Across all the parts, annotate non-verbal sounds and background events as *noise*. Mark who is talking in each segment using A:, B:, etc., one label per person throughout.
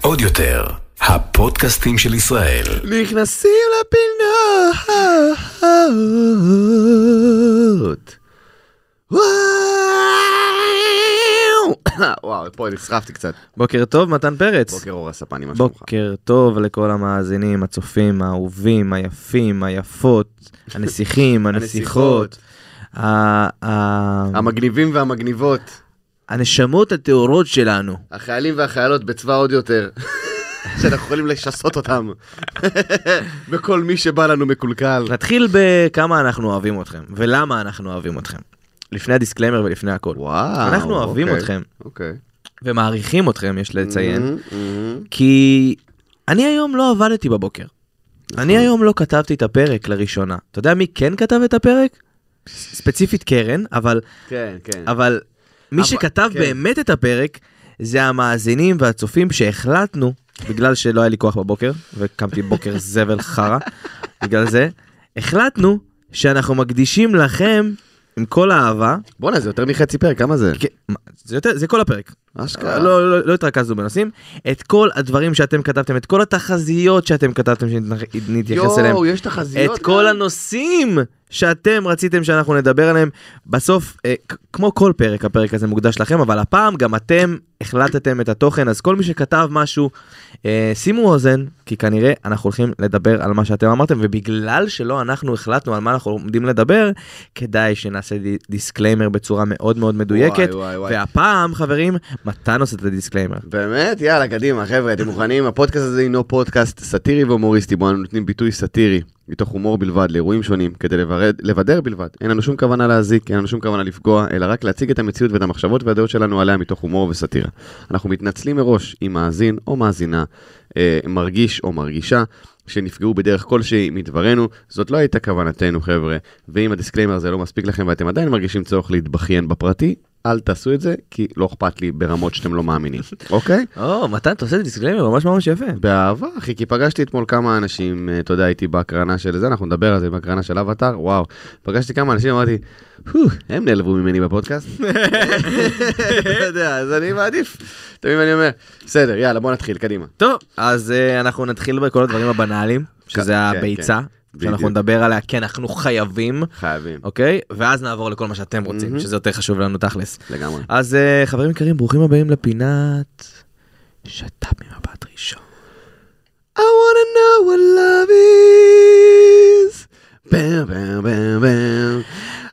A: עוד יותר, הפודקאסטים של ישראל.
B: נכנסים לפינות. וואו, וואו, פה נסחפתי קצת.
C: בוקר טוב, מתן פרץ.
B: בוקר אור הספני, מה שלומך?
C: בוקר טוב לכל המאזינים, הצופים, האהובים, היפים,
B: *laughs*
C: היפות, הנסיכים, הנסיכות, ה- ה-
B: המגניבים והמגניבות,
C: הנשמות הטהורות שלנו.
B: החיילים והחיילות בצבא עוד
C: *laughs*
B: יותר, שאנחנו יכולים לשסות אותם בכל מי שבא לנו מקולקל.
C: נתחיל בכמה אנחנו אוהבים אתכם, ולמה אנחנו אוהבים אתכם. לפני הדיסקליימר ולפני הכל.
B: וואו,
C: אנחנו אוהבים
B: אוקיי,
C: אתכם,
B: אוקיי.
C: ומעריכים אתכם, יש לציין,
B: Mhm, mhm.
C: כי אני היום לא עבדתי בבוקר.
B: נכון.
C: אני היום לא כתבתי את הפרק לראשונה. אתה יודע מי כן כתב
B: *laughs*
C: את הפרק? ספציפית קרן, אבל
B: כן, כן.
C: אבל מי
B: אבל-
C: שכתב
B: כן.
C: באמת את הפרק זה המאזינים והצופים שהחלטנו, בגלל שלא היה לי כוח בבוקר, וקמתי
B: *laughs*
C: בוקר זבל חרא, בגלל זה, החלטנו שאנחנו מקדישים לכם, עם כל האהבה,
B: בואנה, זה יותר מחצי פרק, כמה זה?
C: כ- מה, זה, יותר, זה כל הפרק,
B: אשכרה.
C: כן. לא, לא, לא התרכזנו בנושאים, את כל הדברים שאתם כתבתם, את כל התחזיות שאתם כתבתם שנתייחס אליהם,
B: יואו, יש
C: את
B: תחזיות.
C: כל
B: גם.
C: הנושאים שאתם רציתם שאנחנו נדבר עליהם. בסוף, אה, כ- כמו כל פרק, הפרק הזה מוקדש לכם, אבל הפעם גם אתם החלטתם את התוכן, אז כל מי שכתב משהו, אה, שימו אוזן, כי כנראה אנחנו הולכים לדבר על מה שאתם אמרתם, ובגלל שלא אנחנו החלטנו על מה אנחנו עומדים לדבר, כדאי שנעשה די- דיסקליימר בצורה מאוד מאוד מדויקת.
B: וואי, וואי, וואי.
C: והפעם, חברים, מתן עושה את הדיסקליימר.
B: באמת? יאללה, קדימה, חבר'ה, אתם מוכנים? הפודקאסט הזה הינו פודקאסט סאטירי והומוריסטי, בו אנו נותנים ביטוי סאטירי, מתוך הומור בלבד, לאירועים שונים, כדי לברד, לבדר בלבד. אין לנו שום כוונה להזיק, אין לנו שום כוונה לפגוע, אלא רק להציג את המציאות ואת המחשבות והדעות שלנו עליה מתוך הומור וסאטירה. אנחנו מתנצלים מראש אם מאזין או מאזינה אה, מרגיש או מרגישה. שנפגעו בדרך כלשהי מדברנו, זאת לא הייתה כוונתנו חבר'ה, ואם הדיסקליימר הזה לא מספיק לכם ואתם עדיין מרגישים צורך להתבכיין בפרטי, אל תעשו את זה, כי לא אכפת לי ברמות שאתם לא מאמינים, אוקיי?
C: או, מתן, אתה עושה דיסקליימר ממש ממש יפה.
B: באהבה, אחי, כי פגשתי אתמול כמה אנשים, אה, אתה יודע, הייתי בהקרנה של זה, אנחנו נדבר על זה בהקרנה של אבטאר, וואו. פגשתי כמה אנשים, אמרתי, "הו, הם נעלבו ממני בפודקאסט. *laughs* אתה יודע, אז אני מעדיף. תמיד אני אומר, בסדר, יאללה, בוא נתחיל, קדימה.
C: טוב, אז אה, אנחנו נתחיל בכל הדברים הבנאליים, שזה
B: כן,
C: הביצה,
B: בדיוק.
C: שאנחנו נדבר עליה כי אנחנו חייבים,
B: חייבים,
C: אוקיי? ואז נעבור לכל מה שאתם רוצים,
B: מהמם.
C: שזה יותר חשוב לנו תכלס.
B: לגמרי.
C: אז אה, חברים יקרים, ברוכים הבאים לפינת שת"פ ממבט ראשון.
B: I wanna know what love is. Bam, bam, bam, bam.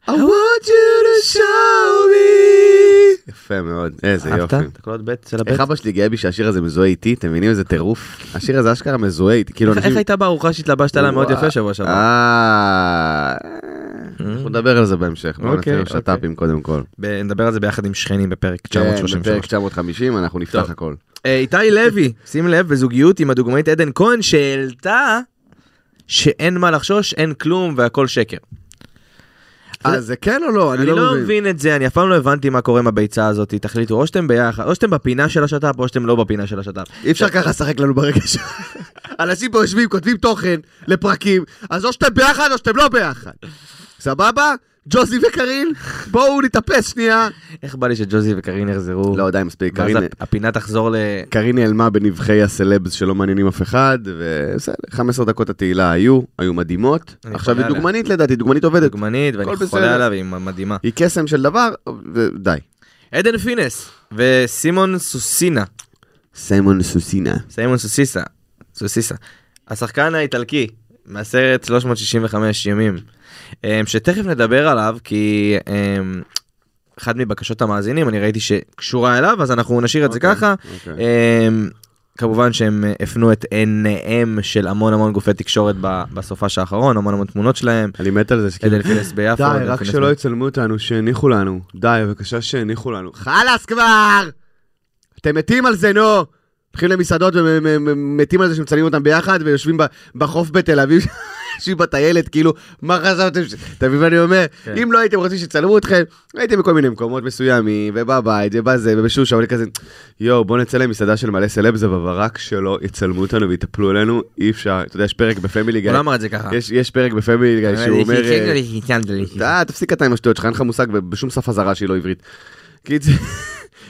B: אוקיי. I want you to show me. יפה מאוד, איזה
C: אהבת?
B: יופי.
C: תקלות ב' אצל הב'.
B: איך אבא שלי גאה בי שהשיר הזה מזוהה איתי, אתם מבינים איזה טירוף? השיר הזה אשכרה מזוהה איתי, כאילו
C: איך-
B: אנשים...
C: איך הייתה בארוחה שהתלבשת עליה מאוד
B: וואו.
C: יפה שבוע שעבר?
B: אה... אנחנו נדבר על זה בהמשך, בואו
C: אוקיי,
B: נתחיל שת"פים קודם כל.
C: ב- נדבר על זה ביחד עם שכנים בפרק
B: כן, בפרק
C: 933.
B: 950 אנחנו נפתח
C: טוב.
B: הכל.
C: אה, איתי לוי, שים לב, בזוגיות עם הדוגמנית עדן כהן שהעלתה שאין מה לחשוש, אין כלום והכל שקר.
B: אה, זה כן או לא?
C: אני לא מבין את זה, אני אף פעם לא הבנתי מה קורה עם הביצה הזאת, תחליטו, או שאתם ביחד, או שאתם בפינה של השת"פ, או שאתם לא בפינה של השת"פ.
B: אי אפשר ככה לשחק לנו ברגש. אנשים פה יושבים, כותבים תוכן לפרקים, אז או שאתם ביחד או שאתם לא ביחד. סבבה? ג'וזי וקרין? בואו נתאפס שנייה.
C: איך בא לי שג'וזי וקארין יחזרו?
B: לא, די, מספיק.
C: ואז
B: קרין-
C: הפ- הפינה תחזור ל...
B: קארין נעלמה בנבחי הסלבס שלא מעניינים אף אחד, ובסדר, 15 דקות התהילה היו, היו מדהימות.
C: אני
B: עכשיו
C: חולה
B: היא דוגמנית לדעתי, דוגמנית עובדת.
C: דוגמנית,
B: הכל
C: ואני
B: בסדר.
C: חולה עליו, היא מדהימה.
B: היא קסם של דבר, ודי.
C: עדן פינס וסימון סוסינה,
B: סיימון סוסינה.
C: סימון סוסיסה, סוסיסה, השחקן האיטלקי מהסרט 365 ימים, אמ, שתכף נדבר עליו כי אמ, אחת מבקשות המאזינים אני ראיתי שקשורה אליו אז אנחנו נשאיר את זה
B: אוקיי,
C: ככה.
B: אוקיי.
C: אמ, כמובן שהם אה, הפנו את עיניהם של המון המון גופי תקשורת ב- בסופש האחרון, המון המון תמונות שלהם,
B: אני מת על זה, שכאילו...
C: עדן פינס ביפו.
B: כן. די,
C: עדן
B: רק
C: פינס
B: שלא
C: ב-
B: יצלמו אותנו, שהניחו לנו. די, בבקשה שהניחו לנו. חלאס כבר! אתם מתים על זה, נו! הולכים למסעדות ומתים על זה שמצלמים אותם ביחד ויושבים ב- בחוף בתל אביב, *laughs* יושבים בטיילת, כאילו, מה חשבתם? ש- אתה מבין מה אני אומר?
C: כן.
B: אם לא הייתם רוצים שיצלמו אתכם, הייתם בכל מיני מקומות מסוימים, ובבית, ובזה, ובשושה, אבל כזה, יואו, בוא נצא למסעדה של מלא סלבס, אבל רק שלא יצלמו אותנו ויטפלו עלינו, אי אפשר. אתה יודע, יש פרק בפמילי גיא,
C: הוא לא אמר את זה ככה.
B: יש- יש פרק בפמילי גיא שהוא אומר... אה,
C: כאילו.
B: די, תפסיק אתה עם השטויות שלך, אין לך מושג בשום שפה זרה שהיא לא עברית. קיצר,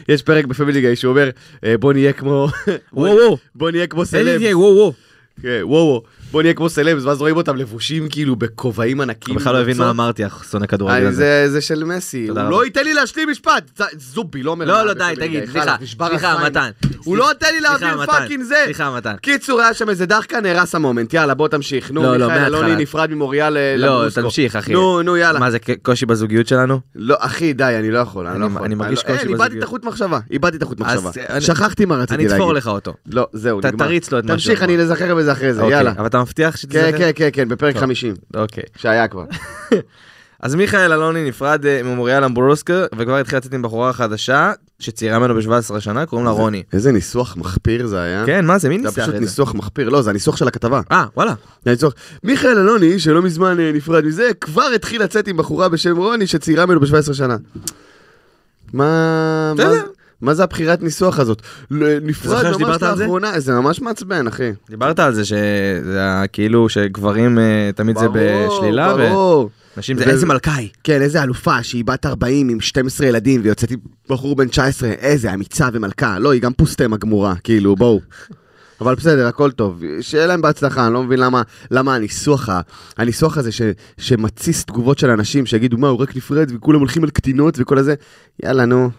B: יש פרק בפמילי גיא שהוא אומר, אה, בוא נהיה כמו...
C: וואו וואו.
B: בוא נהיה כמו
C: אין לי
B: סלב.
C: תהיה, וואו וואו.
B: כן, וואו, וואו, בוא נהיה כמו סלבס, ואז רואים אותם לבושים כאילו בכובעים ענקים.
C: הוא בכלל לא הבין
B: בצור.
C: מה אמרתי, שונא כדורגל
B: אה,
C: הזה.
B: זה זה של מסי, הוא
C: תודה
B: לא
C: רבה.
B: ייתן לי להשלים משפט, צ- זובי לא מלמד.
C: לא, לא, די,
B: בפמילי
C: תגיד,
B: גיא,
C: סליחה,
B: חלאס, נשבר
C: סליחה,
B: החיים.
C: מתן.
B: הוא לא נותן לי
C: סליחה,
B: להעביר
C: מתן.
B: פאקינג זה.
C: סליחה, מתן.
B: קיצור, היה שם איזה דחקה, נהרס המומנט, יאללה, בוא תמשיך. נו,
C: לא, לא,
B: מיכאל
C: מההתחלה.
B: אלוני נפרד ממוריאל אה,
C: לא,
B: לברוסקו.
C: תמשיך, אחי.
B: נו, נו, יאללה.
C: מה זה, קושי בזוגיות שלנו?
B: לא, אחי, די, אני לא יכול, אני
C: אני-
B: לא יכול.
C: אני מרגיש
B: לא- אין,
C: קושי
B: איבדתי
C: בזוגיות.
B: את החוט מחשבה, איבדתי את החוט
C: אז, אה,
B: מחשבה.
C: אני-
B: שכחתי מה רציתי
C: אני
B: להגיד.
C: אצפור לך אותו.
B: לא, זהו,
C: ת-
B: נגמר.
C: תריץ לו את מה שהוא
B: תמשיך,
C: אמר.
B: אני אזכר בזה אחרי זה,
C: אוקיי,
B: יאללה.
C: אבל אתה מבטיח שתזכר?
B: כן, כן, כן, כן, בפרק 50,
C: אוקיי.
B: שהיה כבר.
C: אז מיכאל אלוני נפרד אה, ממוריאל אמברוסקר, וכבר התחיל לצאת עם בחורה חדשה, שצעירה ממנו ב-17 שנה, קוראים לה רוני.
B: איזה ניסוח מחפיר זה היה.
C: כן, מה זה, מי
B: אה? זה
C: ניסח
B: היה פשוט
C: את זה?
B: ניסוח מחפיר, לא, זה הניסוח של הכתבה.
C: אה, וואלה.
B: זה הניסוח. מיכאל אלוני, שלא מזמן אה, נפרד מזה, כבר התחיל לצאת עם בחורה בשם רוני, שצעירה ממנו ב-17 שנה. מה... מה-
C: בסדר.
B: מה זה הבחירת ניסוח הזאת? ל- נפרד
C: זוכר
B: ממש
C: שדיברת על זה?
B: לאחרונה, זה ממש מעצבן, אחי.
C: דיברת על זה שזה היה כאילו שגברים אה, תמיד זה בשלילה,
B: ברור.
C: ונשים זה
B: ו-
C: איזה מלכאי.
B: כן, איזה אלופה שהיא בת 40 עם 12 ילדים ויוצאת עם בחור בן 19, איזה אמיצה ומלכה. לא, היא גם פוסטמה גמורה, כאילו, בואו. *laughs* אבל בסדר, הכל טוב. שיהיה להם בהצלחה, אני לא מבין למה, למה הניסוח, ה- הניסוח הזה ש, שמתסיס תגובות של אנשים שיגידו, מה, הוא רק נפרד וכולם הולכים על קטינות וכל הזה. יאללה, נו.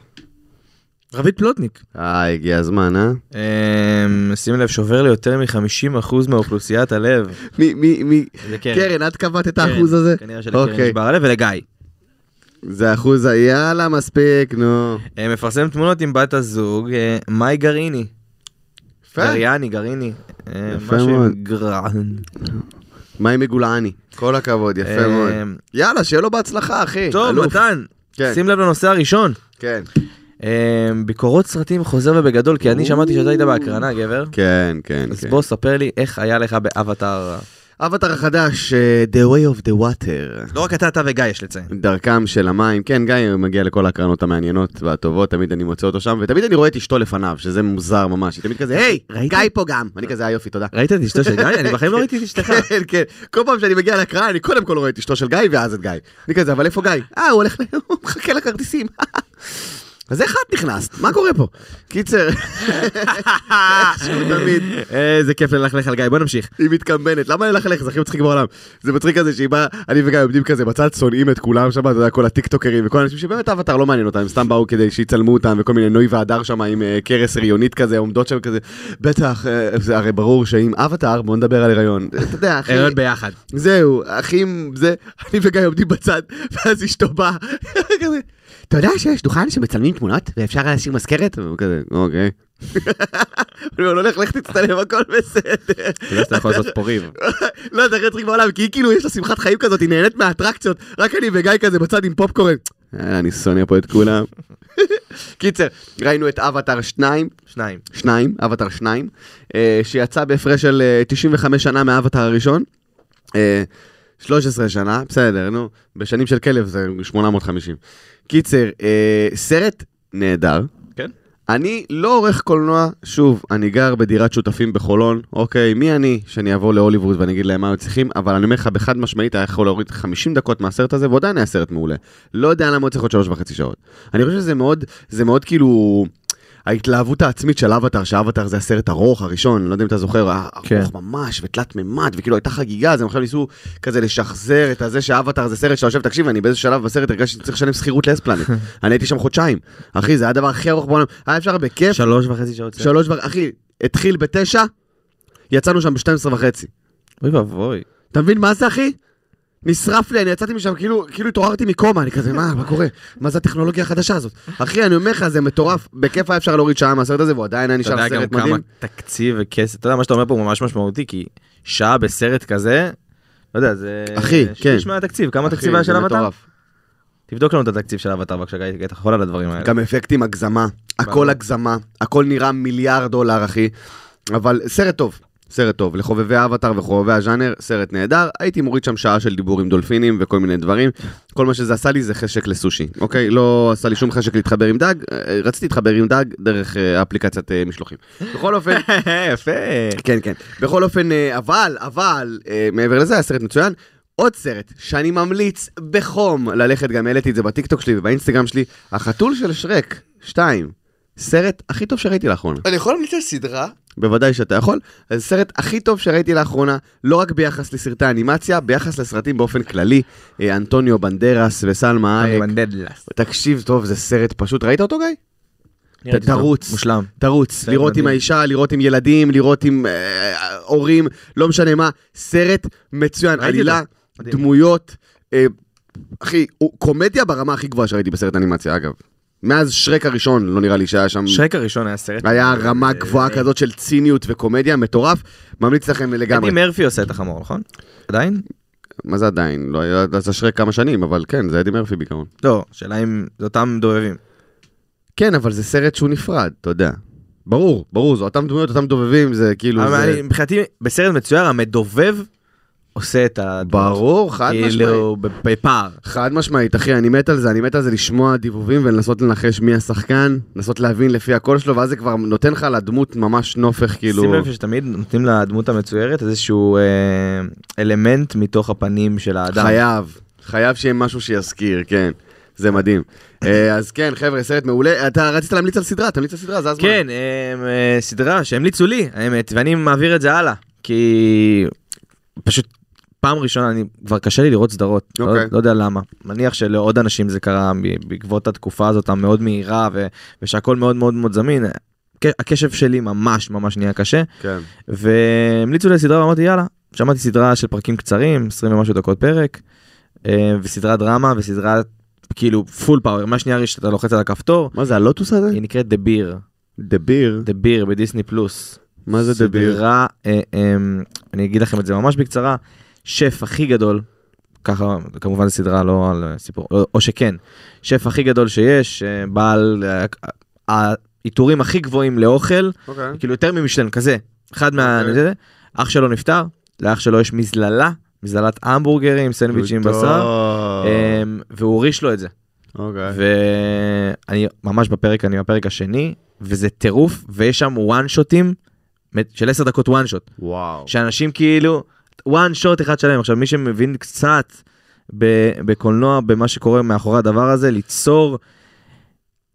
C: רבית פלוטניק.
B: אה, הגיע הזמן, אה?
C: אמ, שים לב, שובר ליותר מ-50% מאוכלוסיית הלב.
B: מי, מי, מי?
C: זה קרן.
B: קרן, את קבעת את
C: קרן.
B: האחוז הזה?
C: כן. כנראה שלקרן
B: אוקיי.
C: נשבר הלב, ולגיא.
B: זה האחוז, ה- יאללה, מספיק, נו.
C: אה, מפרסם תמונות עם בת הזוג, אה, מאי גרעיני. גריאני, גרעיני. אה,
B: יפה
C: משהו עם
B: מאוד.
C: גרען.
B: מים מגולעני. כל הכבוד, יפה
C: אה,
B: מאוד. יאללה, שיהיה לו בהצלחה, אחי.
C: טוב,
B: אה, אלוף.
C: מתן,
B: כן.
C: שים לב לנושא הראשון.
B: כן.
C: אה, ביקורות סרטים חוזר ובגדול, כי אני שמעתי שאתה היית
B: או.
C: בהקרנה, גבר.
B: כן, כן,
C: אז
B: כן.
C: בוא, ספר לי איך היה לך באבטאר.
B: אבטר החדש, אה, The Way of the Water.
C: לא רק אתה, אתה וגיא יש לציין.
B: דרכם של המים, כן, גיא מגיע לכל ההקרנות המעניינות והטובות, תמיד אני מוצא אותו שם, ותמיד אני רואה את אשתו לפניו, שזה מוזר ממש, היא תמיד כזה, היי,
C: ראית?
B: גיא פה גם. אני כזה, אה יופי, תודה.
C: ראית את אשתו של גיא? אני בחיים לא ראיתי את
B: *laughs*
C: אשתך.
B: כן, כן, כל פעם שאני מגיע להקראה, אני קודם כל רואה את אשתו של גיא, ואז את גיא. אני כזה, אבל איפה גיא? אה, הוא הולך, ל- *laughs* הוא מחכה לכרטיסים. *laughs* אז איך את נכנסת? מה קורה פה?
C: *laughs*
B: קיצר, איכשהו תמיד.
C: איזה אה, כיף ללכלך על גיא, בוא נמשיך.
B: היא מתקמבנת, למה ללכלך? זה הכי מצחיק בעולם. זה מצחיק כזה שהיא באה, אני וגיא עומדים כזה בצד, שונאים את כולם שם, אתה יודע, כל הטיקטוקרים וכל האנשים שבאמת האבטר לא מעניין אותם, הם סתם באו כדי שיצלמו אותם, וכל מיני נוי והדר שם עם אה, קרס הריונית כזה, עומדות שם כזה, בטח, אה, זה הרי ברור שאם אבטר, בוא נדבר על הריון. אתה יודע, אחי,
C: הריון אה, ביחד.
B: זהו, אחים, זה, אני וגיא עומדים בצד, ואז אשתו באה, כזה, אתה יודע שיש דוכן שמצלמים תמונות ואפשר להשאיר מזכרת? והוא כזה, אוקיי. אני אומר לו, לך, לך תצטלם, הכל בסדר.
C: אתה יודע שאתה יכול לעשות פה ריב.
B: לא, זה הכי מצחיק בעולם, כי היא כאילו, יש לה שמחת חיים כזאת, היא נהנית מהאטרקציות, רק אני וגיא כזה בצד עם פופקורן. אה, אני שונא פה את כולם. *laughs* קיצר, ראינו את אבטאר 2,
C: שניים.
B: 2, אבטאר 2, אה, שיצא בהפרש של אה, 95 שנה מהאבטאר הראשון. אה, 13 שנה, בסדר, נו, בשנים של כלב זה 850. קיצר, אה, סרט נהדר.
C: כן.
B: אני לא עורך קולנוע, שוב, אני גר בדירת שותפים בחולון, אוקיי, מי אני שאני אבוא להוליווד ואני אגיד להם מה הם צריכים, אבל אני אומר לך, בחד משמעית היה יכול להוריד 50 דקות מהסרט הזה, ועדיין היה סרט מעולה. לא יודע למה הוא צריך עוד שלוש וחצי שעות. אני חושב שזה מאוד, זה מאוד כאילו... ההתלהבות העצמית של אבטאר, שאבטאר זה הסרט ארוך הראשון, לא יודע אם אתה זוכר, היה ארוך
C: כן.
B: ממש ותלת מימד, וכאילו הייתה חגיגה, אז הם עכשיו ניסו כזה לשחזר את הזה שאבטאר זה סרט שאתה יושב, תקשיב, אני באיזה שלב בסרט הרגשתי שצריך לשלם שכירות לאספלנט. אני הייתי שם חודשיים. אחי, זה היה הדבר הכי ארוך בעולם, היה אפשר בכיף,
C: שלוש וחצי שעות. סרט.
B: שלוש וחצי, אחי, התחיל בתשע, יצאנו שם ב-12 וחצי.
C: אוי ואבוי.
B: אתה מבין מה זה, אחי? נשרף לי, אני יצאתי משם, כאילו, כאילו התעוררתי מקומה, אני כזה, מה, מה קורה? מה זה הטכנולוגיה החדשה הזאת? אחי, אני אומר לך, זה מטורף, בכיף היה אפשר להוריד שעה מהסרט הזה, והוא עדיין היה
C: אתה יודע
B: נשאר
C: גם
B: סרט
C: כמה
B: מדהים.
C: תקציב וכסף, אתה יודע מה שאתה אומר פה הוא ממש משמעותי, כי שעה בסרט כזה, לא יודע, זה...
B: אחי,
C: שליש
B: כן.
C: מהתקציב, כמה
B: אחי,
C: תקציב היה
B: זה
C: של אבטר?
B: מטורף.
C: תבדוק לנו את התקציב של אבטר בבקשה, גיא, כי אתה חולה על הדברים האלה.
B: גם אפקטים הגזמה, הכל
C: ברור.
B: הגזמה, הכל נראה מיליארד דולר, אחי. אבל סרט טוב, סרט טוב. לחובבי האבטר וחובבי הז'אנר, סרט נהדר. הייתי מוריד שם שעה של דיבור עם דולפינים וכל מיני דברים. כל מה שזה עשה לי זה חשק לסושי, אוקיי? לא עשה לי שום חשק להתחבר עם דג, אה, רציתי להתחבר עם דג דרך אה, אפליקציית אה, משלוחים. בכל
D: *laughs*
B: אופן,
C: יפה.
B: כן, כן. בכל אופן, אה, אבל, אבל, אה, מעבר לזה, היה סרט מצוין. עוד סרט שאני ממליץ בחום ללכת, גם העליתי את זה בטיקטוק שלי ובאינסטגרם שלי, החתול של שרק, 2. סרט הכי טוב שראיתי לאחרונה.
D: אני יכול להמליץ על סדרה?
B: בוודאי שאתה יכול. אז הסרט הכי טוב שראיתי לאחרונה, לא רק ביחס לסרטי אנימציה, ביחס לסרטים באופן כללי, אה, אנטוניו בנדרס וסלמה
C: אני
B: הייק.
C: בנדלס.
B: תקשיב טוב, זה סרט פשוט, ראית אותו גיא?
C: ראיתי אותו.
B: תרוץ. Mm.
C: מושלם.
B: תרוץ,
C: סרט
B: לראות עם
C: מדהים.
B: האישה, לראות עם ילדים, לראות עם אה, הורים, לא משנה מה, סרט מצוין,
C: ראיתי
B: עלילה,
C: אותו. מדהים.
B: דמויות, אה, אחי, הוא קומדיה ברמה הכי גבוהה שראיתי בסרט אנימציה אגב. מאז שרק הראשון, לא נראה לי שהיה שם...
C: שרק הראשון היה סרט.
B: היה רמה
C: אה,
B: גבוהה
C: מדהים.
B: כזאת של ציניות וקומדיה, מטורף, ממליץ לכם לגמרי.
C: אדי מרפי עושה את החמור, נכון? עדיין?
B: מה זה עדיין? לא היה, זה שרק כמה שנים, אבל כן, זה אדי מרפי בעיקרון.
C: לא, שאלה אם זה אותם דובבים.
B: כן, אבל זה סרט שהוא נפרד, אתה יודע. ברור, ברור, זה אותם דמויות, אותם דובבים, זה כאילו...
C: אבל
B: זה...
C: אני- לא, מבחינתי, בסרט מצויר, המדובב עושה את ה...
B: ברור, חד משמעית.
C: כאילו, בפער.
B: חד משמעית, אחי, אני מת על זה, אני מת על זה לשמוע דיבובים ולנסות לנחש מי השחקן, לנסות להבין לפי הקול שלו, ואז זה כבר נותן לך לדמות ממש נופך, כאילו...
C: שים לב שתמיד נותנים לדמות המצוירת איזשהו אה, אלמנט מתוך הפנים של האדם.
B: חייב, חייב שיהיה משהו שיזכיר, כן. זה מדהים. אה, אז כן, חבר'ה, סרט מעולה. אתה רצית להמליץ על סדרה, תמליץ על סדרה, זה הזמן.
C: כן, אה, אה, סדרה שהמליצו לי, האמת, ואני מעביר את זה הלאה, כי פשוט פעם ראשונה, אני, כבר קשה לי לראות סדרות, לא,
B: אוקיי.
C: לא יודע למה. מניח שלעוד אנשים זה קרה ב- בעקבות התקופה הזאת המאוד מהירה ו, ושהכול מאוד מאוד מאוד זמין. הק- הקשב שלי ממש ממש נהיה קשה,
B: כן.
C: והמליצו לי סדרה ואמרתי יאללה, שמעתי סדרה של פרקים קצרים, 20 ומשהו דקות פרק, אה, וסדרת דרמה וסדרה כאילו פול פאוור, מה שנייה שאתה לוחץ על הכפתור,
B: מה זה, הלוטוס הזה?
C: היא נקראת The Beer.
B: דביר.
C: דה ביר בדיסני פלוס.
B: מה זה דביר?
C: סדרה, אה, אה, אני אגיד לכם את זה ממש בקצרה, שף הכי גדול, ככה כמובן סדרה לא על אה, סיפור, או- או שכן, שף הכי גדול שיש, אה, בעל אה, העיטורים הכי גבוהים לאוכל,
B: אוקיי.
C: כאילו יותר ממשלן כזה, אחד מה...
B: אוקיי.
C: זה, אח שלו נפטר, לאח שלו יש מזללה, מזללת המבורגרים, סנדוויצ'ים עם בשר, אה, והוא הוריש לו את זה.
B: אוקיי.
C: ואני ממש בפרק, אני בפרק השני, וזה טירוף, ויש שם וואן שוטים של 10 דקות וואן שוט,
B: וואו.
C: שאנשים כאילו, וואן שוט אחד שלם. עכשיו, מי שמבין קצת ב- בקולנוע, במה שקורה מאחורי הדבר הזה, ליצור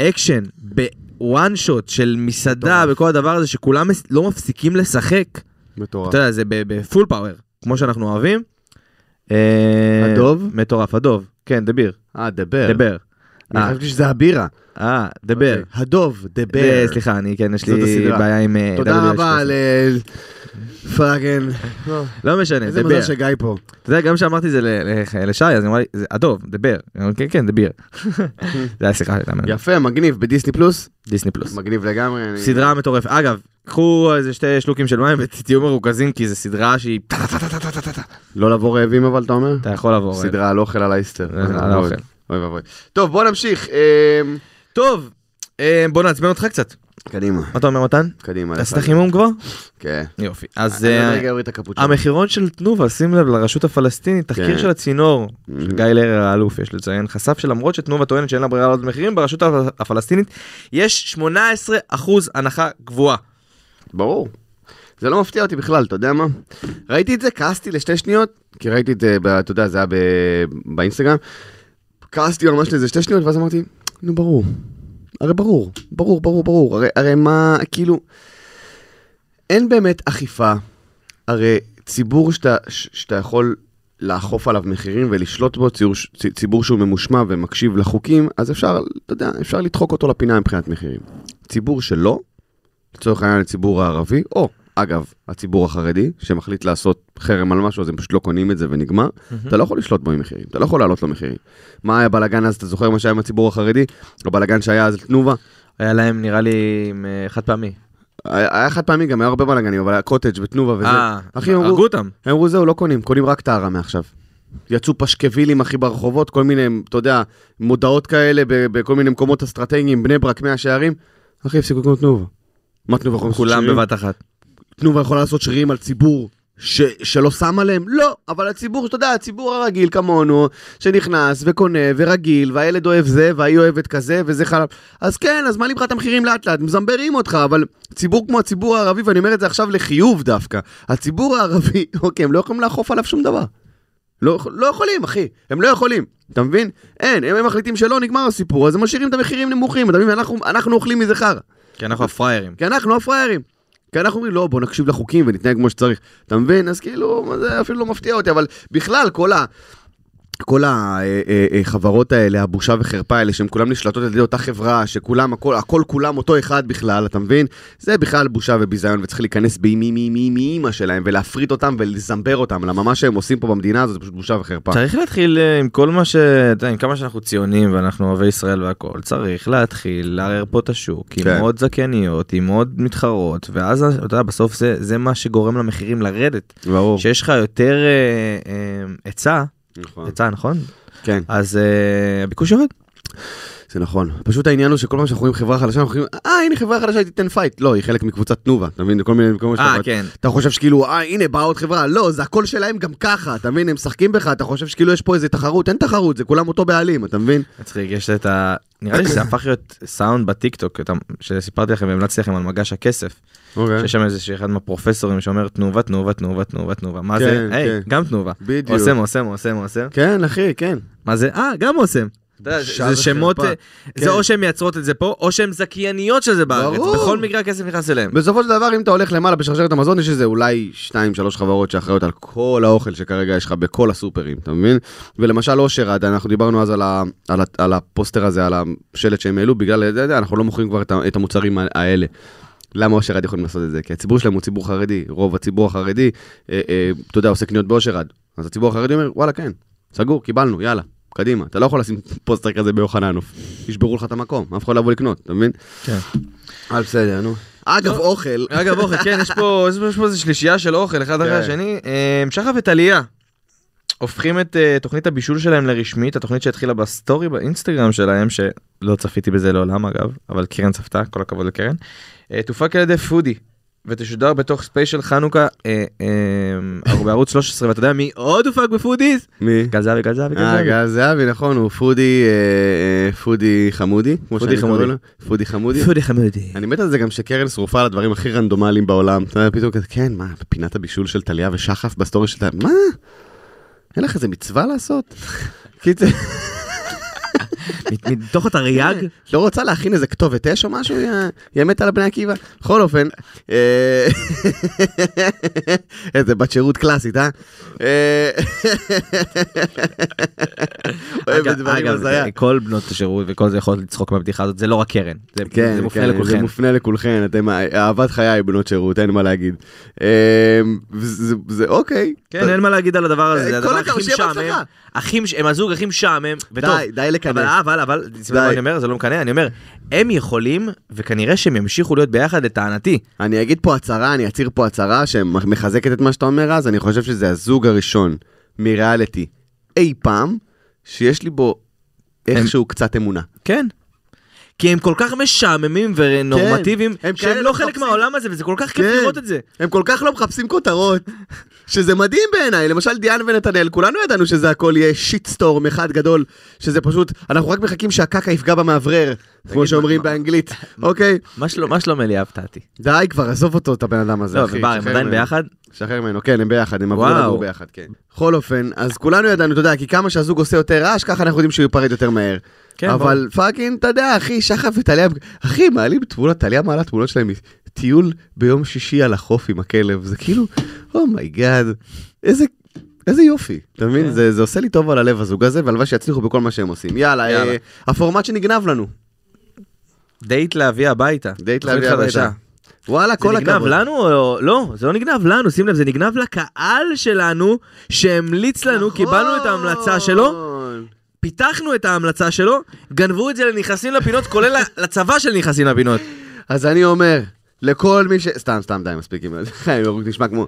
C: אקשן בוואן שוט של מסעדה,
B: מטורף.
C: וכל הדבר הזה, שכולם מס- לא מפסיקים לשחק,
B: מטורף.
C: אתה יודע, זה ב- בפול פאוור, כמו שאנחנו אוהבים.
B: הדוב?
C: אה, מטורף, הדוב, כן, דביר,
B: אה, דבר.
C: דבר.
B: אני
C: אה.
B: חשבתי שזה הבירה.
C: אה, דבר.
B: הדוב, דבר.
C: ב- אה, סליחה, אני כן, יש
B: זאת
C: לי
B: הסדרה.
C: בעיה עם... אה,
B: תודה
C: WH.
B: רבה ל... פאגן.
C: לא משנה,
B: איזה
C: דבר.
B: מזל שגיא פה.
C: אתה יודע, גם כשאמרתי את זה ל- ל- לשי, אז היא אמרה לי, זה הדוב, דבר. אני אומר, כן, כן, דבר.
B: *laughs*
C: זה היה שיחה הייתה מעניינת.
B: יפה, מגניב, בדיסני פלוס.
C: דיסני פלוס.
B: מגניב לגמרי. אני-
C: סדרה מטורפת. אגב, קחו איזה שתי שלוקים של מים ותהיו מרוכזים, כי זו סדרה שהיא...
B: לא לבוא רעבים אבל, אתה אומר?
C: אתה יכול לעבור. אה.
B: סדרה על אוכל על האיסטר.
C: אה, על
B: אוי,
C: האוכל.
B: אוי ואבוי. טוב, בוא נמשיך. אמ,
C: טוב, אה, בוא נעצבן אותך קצת.
B: קדימה.
C: מה אתה אומר, מתן?
B: קדימה.
C: עשית
B: לך.
C: חימום כבר?
B: כן.
C: יופי.
B: אני לא
C: אז...
B: עוד
C: אה,
B: רגע אוריד את הקפוצ'ון.
C: המחירון של תנובה, שים לב לרשות הפלסטינית, תחקיר
B: כן.
C: של הצינור,
B: Mhm.
C: של גיא לרר האלוף יש לציין, חשף שלמרות שתנובה טוענת שאין לה ברירה לעלות מחירים, ברשות הפ- הפלסטינית יש 18% הנחה גבוהה.
B: ברור. זה לא מפתיע אותי בכלל, אתה יודע מה? ראיתי את זה, כעסתי לשתי שניות, כי ראיתי את זה, ב- אתה יודע, זה היה ב... באינסטגרם. כעסתי ממש לאיזה שתי שניות, ואז אמרתי, נו ברור. הרי ברור, ברור, ברור, ברור. הרי, הרי מה, כאילו... אין באמת אכיפה. הרי ציבור שאתה, ש- שאתה יכול לאכוף עליו מחירים ולשלוט בו, ציבור, ש- צ- ציבור שהוא ממושמע ומקשיב לחוקים, אז אפשר, אתה יודע, אפשר לדחוק אותו לפינה מבחינת מחירים. ציבור שלא, לצורך העניין לציבור הערבי, או אגב, הציבור החרדי, שמחליט לעשות חרם על משהו, אז הם פשוט לא קונים את זה ונגמר, אתה לא יכול לשלוט בו עם מחירים, אתה לא יכול להעלות לו מחירים. מה היה בלאגן אז, אתה זוכר מה שהיה עם הציבור החרדי? הבלאגן שהיה אז לתנובה?
C: היה להם נראה לי עם, אה, חד פעמי.
B: היה היה חד פעמי, גם היה הרבה בלאגנים, אבל היה קוטג' ותנובה וזה.
C: אה,
B: אחי,
C: הרגו
B: אמרו-
C: אותם.
B: הם אמרו זהו, לא קונים, קונים רק טהרה מעכשיו. יצאו פשקווילים אחי ברחובות, כל מיני, אתה יודע, מודעות כאלה ב- בכל מיני מקומות אסטרטגיים, בני ברק, מאה שערים. אחי, הפסיקו לקנות תנובה. מה תנובה יכולה לעשות
C: כולם
B: שרירים?
C: בבת אחת.
B: תנובה יכולה לעשות שרירים על ציבור ש- שלא שם עליהם? לא, אבל הציבור, אתה יודע, הציבור הרגיל כמונו, שנכנס וקונה ורגיל, והילד אוהב זה, והיא אוהבת כזה, וזה חלב. אז כן, אז מעלים לך את המחירים לאט לאט, מזמברים אותך, אבל ציבור כמו הציבור הערבי, *laughs* ואני אומר את זה עכשיו לחיוב דווקא, הציבור הערבי, אוקיי, הם לא יכולים לאכוף עליו שום דבר. לא, יכול- לא יכולים, אחי, הם לא יכולים, אתה מבין? אין, הם הם מחליטים שלא נגמר הסיפור, אז הם משאירים את המחירים נמוכים, אתה מבין? אנחנו, אנחנו אוכלים מזה חרא,
C: כי כן, אנחנו הפראיירים.
B: כי אנחנו הפראיירים. כי אנחנו אומרים, לא, בוא נקשיב לחוקים ונתנהג כמו שצריך, אתה מבין? אז כאילו, מה זה אפילו לא מפתיע אותי, אבל בכלל, כל ה... כל אה, החברות האלה, הבושה וחרפה האלה, שהן כולן נשלטות על ידי אותה חברה, שכולם, הכל, הכל כולם אותו אחד בכלל, אתה מבין? זה בכלל בושה וביזיון, וצריך להיכנס באימי מי מי מי אימא שלהם, ולהפריט אותם ולזמבר אותם, למה מה שהם עושים פה במדינה הזאת זה פשוט בושה וחרפה.
C: צריך להתחיל אה, עם כל מה ש... אתה יודע, עם כמה שאנחנו ציונים ואנחנו אוהבי ישראל והכל, צריך להתחיל לערער פה את השוק עם
B: כן.
C: עוד זכייניות, עם עוד מתחרות, ואז אתה יודע, בסוף זה, זה מה שגורם למחירים לרדת.
B: ברור.
C: כשיש לך יותר אה, אה, היצע,
B: נכון.
C: היצע נכון?
B: כן,
C: אז אה, הביקוש יורד.
B: זה נכון. פשוט העניין הוא שכל פעם שאנחנו רואים חברה חדשה, אנחנו חושבים, אה, הנה חברה חדשה, היא תיתן פייט. לא, היא חלק מקבוצת תנובה, אתה מבין? כל מיני מקומות
C: אה,
B: שאתה-
C: כן.
B: אתה חושב שכאילו, אה, הנה, באה עוד חברה. לא, זה הכל שלהם גם ככה, אתה מבין? הם משחקים בך, אתה חושב שכאילו יש פה איזה תחרות, אין תחרות, זה כולם אותו בעלים, אתה מבין?
C: מצחיק, יש את ה... נראה לי שזה הפך להיות סאונד בטיקטוק, את ה- שסיפרתי לכם והמלצתי לכם על מגש הכסף.
B: כן.
C: שיש שם איזה שאחד מהפרופסורים שאומר תנובה, תנובה, תנובה, תנובה, תנובה. מה זה?
B: כן,
C: היי,
B: כן.
C: גם תנובה.
B: בדיוק.
C: אוסם, אוסם, אוסם, אוסם.
B: כן, אחי, כן.
C: מה זה? אה, גם אוסם. אתה יודע,
B: בושה
C: זה שמות,
B: וחרפה.
C: אה,
B: כן.
C: זה או שהן מייצרות את זה פה, או שהן זכייניות של זה בארץ.
B: ברור.
C: בכל מקרה הכסף נכנס אליהם.
B: כן. בסופו של דבר, אם אתה הולך למעלה בשרשרת המזון, יש איזה אולי 2-3 חברות שאחראיות על כל האוכל שכרגע יש לך בכל הסופרים, אתה מבין? ולמשל אושר עד, אנחנו דיברנו אז על, ה, על, ה, על הפוסטר הזה, על השלט שהם העלו, בגלל זה, אנחנו לא מוכרים כבר את, ה- את המוצרים ה- האלה. למה אושר עד יכולים לעשות את זה? כי הציבור שלהם הוא ציבור חרדי, רוב הציבור החרדי, אה, אה, אתה יודע, עושה קניות באושר עד. אז הציבור החרדי אומר, וואלה, כן, סגור, קיבלנו, יאללה, קדימה. אתה לא יכול לשים פוסטר כזה ביוחננוף, ישברו לך את המקום, אף אחד לא יבוא לקנות, אתה מבין?
C: כן.
B: אה, בסדר, נו. אה, אגב, אוכל.
C: אגב, אוכל, כן, יש פה יש פה איזה שלישייה של אוכל, אחד אחרי
B: כן.
C: השני. אה, שחר וטליה הופכים את אה, תוכנית הבישול שלהם לרשמית, התוכנית שהתחילה בסטורי באינסטגרם שלהם, שלא צפיתי בזה לעולם אגב, אבל קרן צפתה, כל הכבוד לקרן. אה, תופק על ידי פודי. ותשודר בתוך ספייס של חנוכה אה, אה, בערוץ 13 ואתה יודע מי עוד הופק בפודיז?
B: מי?
C: גל זהבי, גל זהבי, גל
B: אה,
C: זהבי.
B: גל זהבי, נכון, הוא פודי, אה, אה, פודי חמודי, כמו
C: פודי
B: שאני קורא
C: חמודי.
B: לו. פודי חמודי.
C: פודי
B: *laughs*
C: חמודי.
B: אני מת על זה גם שקרן שרופה על הדברים הכי רנדומליים בעולם. אתה יודע, פתאום כזה, כן, מה, פינת הבישול של טליה ושחף בסטורי של טליה, מה? אין לך איזה מצווה לעשות? *laughs* קיצר,
C: מתוך התרי"ג?
B: לא רוצה להכין איזה כתובת אש או משהו? יא- יא מת על בני עקיבא. בכל אופן, אה, *laughs* איזה בת שירות קלאסית, אה? אה, *laughs* אוהב את דברים הזיה.
C: כל בנות השירות וכל זה יכול לצחוק מהבדיחה הזאת, זה לא רק קרן. זה-
B: כן,
C: זה מופנה
B: כן, זה
C: לכולכם.
B: מופנה לכולכן, אתם אה, אהבת חיי בנות שירות, אין מה להגיד. אה, זה- זה- זה אוקיי.
C: כן, אין מה להגיד על הדבר הזה,
B: אה,
C: זה
B: כל
C: הדבר
B: הכבוד,
C: הכי
B: שיהיה
C: משעמם.
B: בהצלחה.
C: הכי מש- הם הזוג הכי משעמם, וטוב.
B: די, די לקנא.
C: אבל אה, אבל אבל, תשמע
B: די.
C: מה אני אומר, זה לא מקנא, אני אומר, הם יכולים, וכנראה שהם ימשיכו להיות ביחד לטענתי.
B: אני אגיד פה הצהרה, אני אצהיר פה הצהרה שמחזקת את מה שאתה אומר אז, אני חושב שזה הזוג הראשון מריאליטי אי פעם, שיש לי בו איכשהו קצת אמונה.
C: כן. כי הם כל כך משעממים ונורמטיביים,
B: כן, הם
C: שהם
B: כאלה
C: לא חלק
B: מחפשים-
C: מהעולם הזה, וזה כל כך כיף
B: כן.
C: לראות את זה.
B: הם כל כך לא מחפשים כותרות, שזה מדהים בעיניי. למשל דיאן ונתנאל, כולנו ידענו שזה הכל יהיה שיטסטורם אחד גדול, שזה פשוט, אנחנו רק מחכים שהקקה יפגע במאוורר, כמו שאומרים
C: *laughs*
B: באנגלית, אוקיי?
C: מה שלום- מה שלום אלי אבטעתי?
B: די כבר, עזוב אותו, את הבן אדם הזה,
C: לא,
B: אחי.
C: ובר, הם
B: שחרר
C: עדיין
B: ממנו.
C: ביחד?
B: שחרר ממנו, כן, הם ביחד, הם עברו
C: וואו.
B: לגור ביחד, כן. בכל אופן, אז כולנו ידענו, אתה יודע, כי כמה שהזוג עושה יותר רעש, ככה אנחנו יודעים שהוא ייפרד יותר מהר.
C: כן,
B: כן, אבל פאקינג, אתה יודע, אחי, שחף וטליה, אחי, מעלים תמונות, טליה מעלה תמונות שלהם מטיול ביום שישי על החוף עם הכלב, זה כאילו, אומייגאד, איזה... איזה יופי, אתה מבין?
C: כן.
B: זה, זה עושה לי טוב על הלב הזוג הזה, והלוואי שיצליחו בכל מה שהם עושים. יאללה,
C: יאללה.
B: אה, הפורמט שנגנב לנו.
C: דייט להביא הביתה.
B: דייט
C: תוכנית
B: להביא
C: חדשה.
B: הביתה. וואלה,
C: זה
B: כל הכבוד.
C: נגנב לנו או לא? זה לא נגנב לנו, שים לב, זה נגנב לקהל שלנו שהמליץ לנו, קיבלנו את ההמלצה שלו,
B: נכון.
C: פיתחנו את ההמלצה שלו, גנבו את זה לנכנסים לפינות, כולל ל- *laughs* לצבא של נכנסים לפינות.
B: אז אני אומר, לכל מי ש... סתם, סתם, די, מספיק עם זה. *laughs* חיים, הוא נשמע כמו...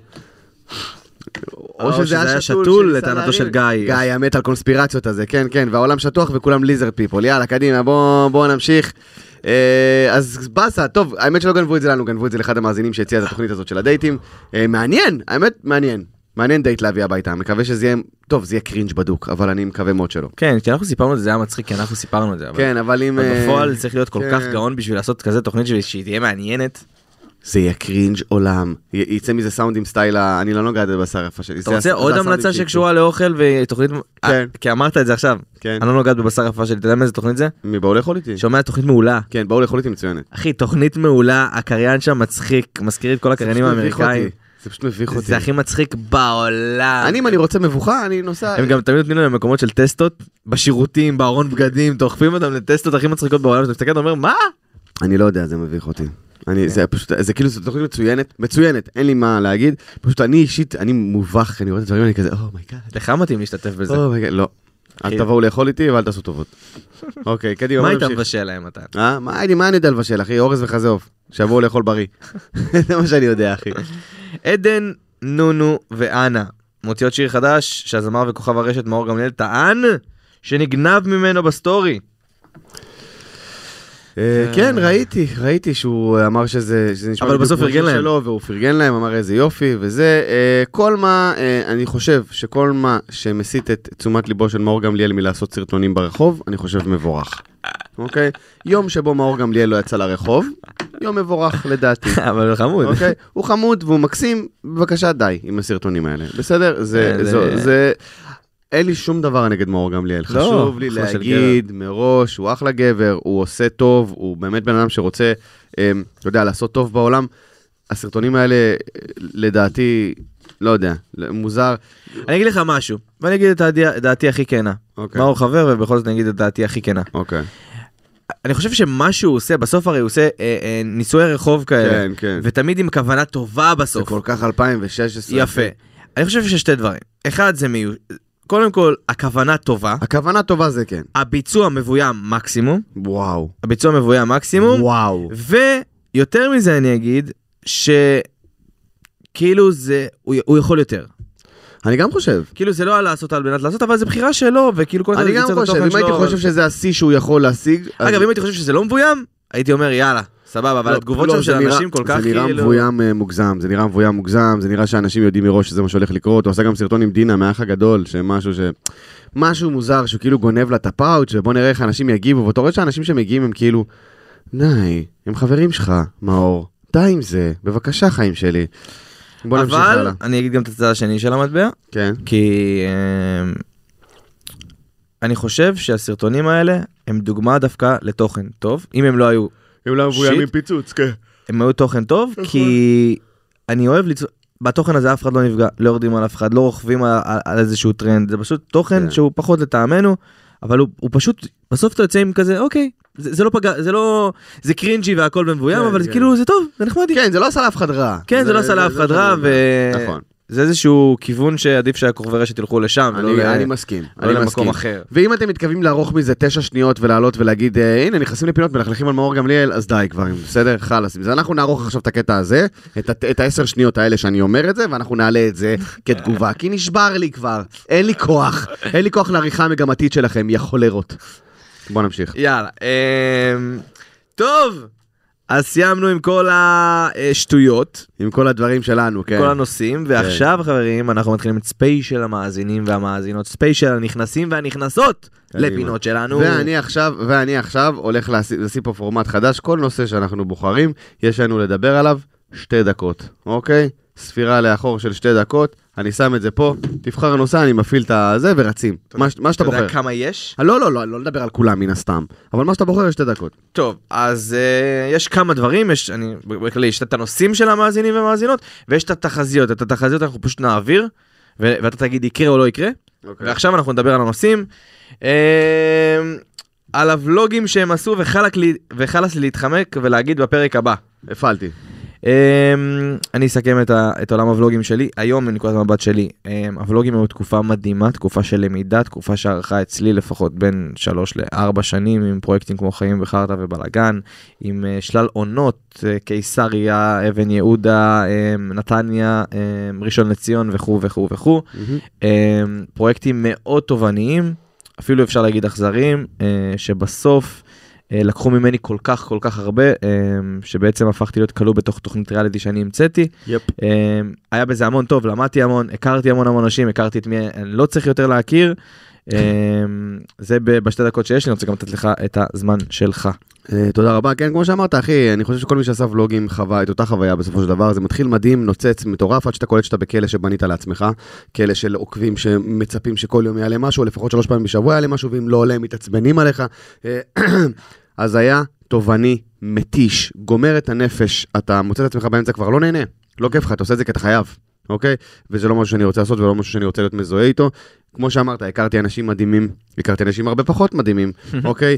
C: או שזה היה שתול,
B: של
C: לטענתו של
B: סלעית.
C: גיא.
B: גיא, המת על קונספירציות הזה, כן, כן, והעולם שטוח וכולם ליזר פיפול. יאללה, קדימה, בואו בוא נמשיך. אה, אז באסה, טוב, האמת שלא גנבו את זה לנו, גנבו את זה לאחד המאזינים שהציע את התוכנית הזאת של הדייטים. אה, מעניין, האמת, מעניין. מעניין דייט להביא הביתה, מקווה שזה יהיה... טוב, זה יהיה קרינג' בדוק, אבל אני מקווה מאוד שלא.
C: כן, כשאנחנו סיפרנו את זה, זה היה מצחיק, כי אנחנו סיפרנו את זה. אבל-
B: כן, אבל אם...
C: אבל
B: אה,
C: בפועל צריך להיות כל
B: כן.
C: כך גאון בשביל לעשות כזה תוכנית שהיא- שהיא תהיה מעניינת.
B: זה יהיה קרינג' עולם. י- יצא מזה סאונדים סטייל ה... אני לא נוגע בבשר יפה שלי.
C: אתה רוצה עוד המלצה שקשורה לאוכל ותוכנית...
B: כן.
C: אה, כי אמרת את זה עכשיו.
B: כן.
C: אני לא נוגעת בבשר יפה שלי, אתה יודע מאיזה תוכנית זה?
B: מבואו לאכול איתי.
C: שומע תוכנית מעולה.
B: כן, באו לאכול איתי מצוינת.
C: אחי, תוכנית מעולה, הקריין שם מצחיק, מזכיר את כל
B: זה
C: הקריינים
B: פשוט מביך
C: אוקיי, האמריקאים.
B: אותי. זה פשוט מביך אותי.
C: זה הכי מצחיק בעולם.
B: אני, אם אני רוצה מבוכה, אני נוסע...
C: הם גם תמיד נותנים להם מקומות של טסטות, בשירותים, בארון בגדים, דוחפים אותם לטסטות הכי מצחיקות בעולם, שאתה מסתכל ואומר, מה?
B: אני לא יודע, זה מביך אותי.
C: כן.
B: אני, זה פשוט, זה כאילו, זו תוכנית מצוינת, מצוינת, אין לי מה להגיד. פשוט אני אישית, אני מובך, אני רואה את הדברים, אני כזה, "Oh אומייגאד,
C: לך מתאים להשתתף בזה.
B: אומייגאד, לא. אל
C: אחי.
B: תבואו לאכול איתי ואל תעשו
C: *laughs*
B: טובות. אוקיי, קדימה,
C: מה
B: בוא
C: היית
B: נמשיך.
C: מבשל להם אתה?
B: אה? מה אני- מה אני יודע לבשל, אחי? אורז וחזה עוף. שיבואו לאכול בריא. *laughs* זה מה שאני יודע, אחי.
C: עדן, נונו ואנה, מוציאות שיר חדש, שהזמר וכוכב הרשת מאור גמליאל טען שנגנב ממנו בסטורי. *laughs*
B: אה, כן, ראיתי, ראיתי שהוא אמר שזה שזה נשמע
C: אבל
B: בדיוק
C: בסוף
B: כמו
C: פרגן
B: השיר
C: להם.
B: שלו, והוא פרגן להם, אמר איזה יופי, וזה אה, כל מה, אה, אני חושב שכל מה שמסיט את תשומת ליבו של מאור גמליאל מלעשות סרטונים ברחוב, אני חושב מבורך. אוקיי? יום שבו מאור גמליאל לא יצא לרחוב, יום מבורך לדעתי.
C: אבל חמוד.
B: אוקיי? הוא חמוד והוא מקסים, בבקשה די עם הסרטונים האלה, בסדר? זה,
C: אה,
B: זה,
C: זה-
B: זה, אין לי שום דבר נגד מאור גמליאל,
C: לא,
B: חשוב לי
C: אחלה של
B: להגיד מראש, הוא אחלה גבר, הוא עושה טוב, הוא באמת בן אדם שרוצה, אה, אתה יודע, לעשות טוב בעולם. הסרטונים האלה, אה, לדעתי, לא יודע, מוזר.
C: אני אגיד לך משהו, ואני אגיד את דעתי- דעתי הכי כנה.
B: אוקיי.
C: מאור חבר, ובכל זאת אני אגיד את דעתי הכי כנה.
B: אוקיי,
C: אני חושב שמה שהוא עושה, בסוף הרי הוא עושה אה, אה, נישואי רחוב כאלה.
B: כן, כן.
C: ותמיד עם כוונה טובה
B: זה
C: בסוף.
B: כל כך 2016.
C: יפה. אני חושב ששתי דברים. אחד זה מיוש... קודם כל, הכוונה טובה,
B: הכוונה טובה זה כן.
C: הביצוע מבוים מקסימום,
B: וואו.
C: הביצוע מבוים מקסימום,
B: וואו.
C: ויותר מזה אני אגיד, שכאילו זה, הוא, הוא יכול יותר.
B: אני גם חושב.
C: כאילו זה לא על לעשות על מנת לעשות, אבל זה בחירה שלו, וכאילו כל
B: אני
C: אחד
B: גם
C: יצא את
B: חושב,
C: התוכן
B: אם הייתי
C: שלו,
B: חושב
C: אבל-
B: שזה השיא שהוא יכול להשיג, אז-
C: אגב, אם הייתי חושב שזה לא מבוים, הייתי אומר יאללה, סבבה, אבל
B: לא,
C: התגובות
B: לא,
C: שם
B: זה
C: של
B: נראה-
C: אנשים כל כך כאילו...
B: זה נראה מבוים אה, מוגזם, זה נראה מבוים מוגזם, זה נראה שאנשים יודעים מראש שזה מה שהולך לקרות. הוא עשה גם סרטון עם דינה מהאח הגדול, שמשהו ש... משהו מוזר, שהוא כאילו גונב לה את הפאוץ', ובוא נראה איך אנשים יגיבו, ואתה רואה שהאנשים שמגיעים הם כאילו, די, הם חברים שלך, מאור, די עם זה, בבקשה חיים שלי. בוא נמשיך
C: אבל
B: הלאה.
C: אני אגיד גם את הצד השני של המטבע,
B: כן.
C: כי אמ, אני חושב שהסרטונים האלה הם דוגמה דווקא לתוכן טוב, אם הם לא היו,
B: הם לא
C: מבוים עם
B: פיצוץ, כן.
C: הם היו תוכן טוב, כי אני אוהב ליצור, בתוכן הזה אף אחד לא נפגע, לא יורדים על אף אחד, לא רוכבים על, על, על איזשהו טרנד, זה פשוט תוכן
B: כן.
C: שהוא פחות לטעמנו, אבל הוא, הוא פשוט, בסוף אתה יוצא עם כזה, אוקיי, זה, זה לא פגע, זה לא, זה קרינג'י והכל במבוים,
B: כן,
C: אבל זה
B: כן.
C: כאילו זה טוב, זה נחמדי.
B: כן, זה לא עשה לאף אחד רע.
C: כן, זה לא עשה לאף אחד רע,
B: שאני
C: ו...
B: אומר. נכון.
C: זה איזשהו כיוון שעדיף שהכוכבי רשת ילכו לשם, ולא
B: אני,
C: ל-
B: אני מסכים,
C: לא
B: אני
C: למקום
B: מסכים.
C: אחר.
B: ואם אתם מתכוונים לערוך מזה תשע שניות ולעלות ולהגיד, "אה, הנה, נכנסים לפינות מלכלכים על מאור גמליאל, אז די כבר, אם בסדר? חלאס עם זה. אנחנו נערוך עכשיו את הקטע הזה, את ה- את העשר שניות האלה שאני אומר את זה, ואנחנו נעלה את זה כתגובה, כי נשבר לי כבר, אין לי כוח, אין לי כוח לעריכה המגמתית שלכם, יא חולרות. בוא נמשיך.
C: יאללה. אמ, טוב, אז סיימנו עם כל השטויות,
B: עם כל הדברים שלנו, כן.
C: כל הנושאים, ועכשיו חברים, אנחנו מתחילים את ספיישל המאזינים והמאזינות, ספיישל הנכנסים והנכנסות
B: קדימה.
C: לפינות שלנו.
B: ואני עכשיו, ואני עכשיו הולך להשיא- לשים פה פורמט חדש, כל נושא שאנחנו בוחרים, יש לנו לדבר עליו שתי דקות, אוקיי? ספירה לאחור של שתי דקות, אני שם את זה פה, תבחר נושא, אני מפעיל את הזה ורצים, מה ש- מה
C: אתה
B: שאתה בוחר.
C: יודע כמה יש?
B: אה, לא, לא, לא, לא נדבר על כולם מן הסתם, אבל מה שאתה בוחר יש שתי דקות.
C: טוב, אז אה, יש כמה דברים, יש, אני, בכללי, יש את הנושאים של המאזינים והמאזינות, ויש את התחזיות, את התחזיות אנחנו פשוט נעביר, ו- ואתה תגיד יקרה או לא יקרה,
B: אוקיי.
C: ועכשיו אנחנו נדבר על הנושאים, אה, על הוולוגים שהם עשו וחלק לי- וחלאס לי להתחמק ולהגיד בפרק הבא.
B: הפעלתי.
C: אמ, אני אסכם את, ה, את עולם הוולוגים שלי, היום מנקודת המבט שלי, אמ, הוולוגים היו תקופה מדהימה, תקופה של למידה, תקופה שארכה אצלי לפחות בין 3 ל-4 שנים, עם פרויקטים כמו חיים וחרטא ובלאגן, עם אה, שלל עונות, אה, קיסריה, אבן יהודה, אמ, נתניה, אמ, ראשון לציון וכו' וכו' וכו', אמ, פרויקטים מאוד תובעניים, אפילו אפשר להגיד אכזריים, אה, שבסוף אה, לקחו ממני כל כך כל כך הרבה, אה, שבעצם הפכתי להיות כלוא בתוך תוכנית ריאליטי שאני המצאתי. אמ,
B: יפ.
C: אה, היה בזה המון טוב, למדתי המון, הכרתי המון המון אנשים, הכרתי את מי אני לא צריך יותר להכיר, אה, זה ב- בשתי דקות שיש לי, אני רוצה גם לתת לך את הזמן שלך.
B: אה, תודה רבה. כן, כמו שאמרת, אחי, אני חושב שכל מי שעשה ולוגים חווה את אותה חוויה בסופו של דבר. זה מתחיל מדהים, נוצץ, מטורף, עד שאתה קולט שאתה בכלא שבנית לעצמך. כלא של עוקבים שמצפים שכל יום יעלה משהו, או לפחות שלוש פעמים בשבוע יעלה משהו, ואם לא עולה, הם מתעצבנים עליך. אה, *clears throat* אז היה תובעני, מתיש, גומר את הנפש, אתה מוצא את עצמך באמצע כבר לא נהנה, לא כיף לך, אתה עושה את זה כי אתה חייב, אוקיי? וזה לא משהו שאני רוצה לעשות ולא משהו שאני רוצה להיות מזוהה איתו. כמו שאמרת, הכרתי אנשים מדהימים, הכרתי אנשים הרבה פחות מדהימים, אוקיי?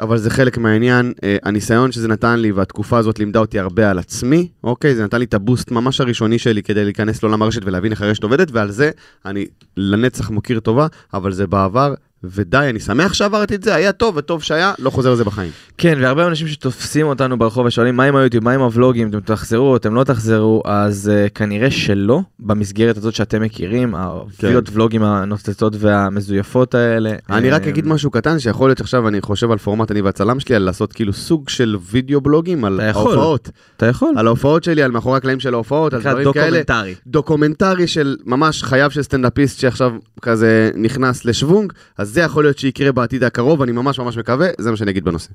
B: אבל זה חלק מהעניין, אה, הניסיון שזה נתן לי והתקופה הזאת לימדה אותי הרבה על עצמי, אוקיי? זה נתן לי את הבוסט ממש הראשוני שלי כדי להיכנס לעולם הרשת ולהבין איך הרשת עובדת, ועל זה אני לנצח מוקיר טובה, אבל זה בעבר, ודי, אני שמח שעברתי את זה, היה טוב וטוב שהיה, לא חוזר לזה בחיים.
C: כן, והרבה אנשים שתופסים אותנו ברחוב ושואלים מה עם היוטיוב, מה עם הוולוגים, אתם תחזרו, אתם לא תחזרו, אז uh, כנראה שלא, במסגרת הזאת שאתם מכירים, הווידאו ולוגים הנוצצות והמזויפות האלה.
B: אני רק
C: אה,
B: אגיד משהו קטן, שיכול להיות שעכשיו אני חושב על פורמט, אני והצלם שלי, על לעשות כאילו סוג של וידאו בלוגים על
C: אתה יכול.
B: ההופעות.
C: אתה יכול,
B: על ההופעות שלי, על מאחורי הקלעים של ההופעות, על
C: נקרא
B: דברים כאלה.
C: דוקומנטרי.
B: דוקומנטרי של ממש חייו של סטנדאפיסט שעכשיו כזה נכנס לשוונג, אז זה יכול להיות שיקרה בעתיד הקרוב, אני ממש ממש מקווה, זה מה שאני אגיד בנושא.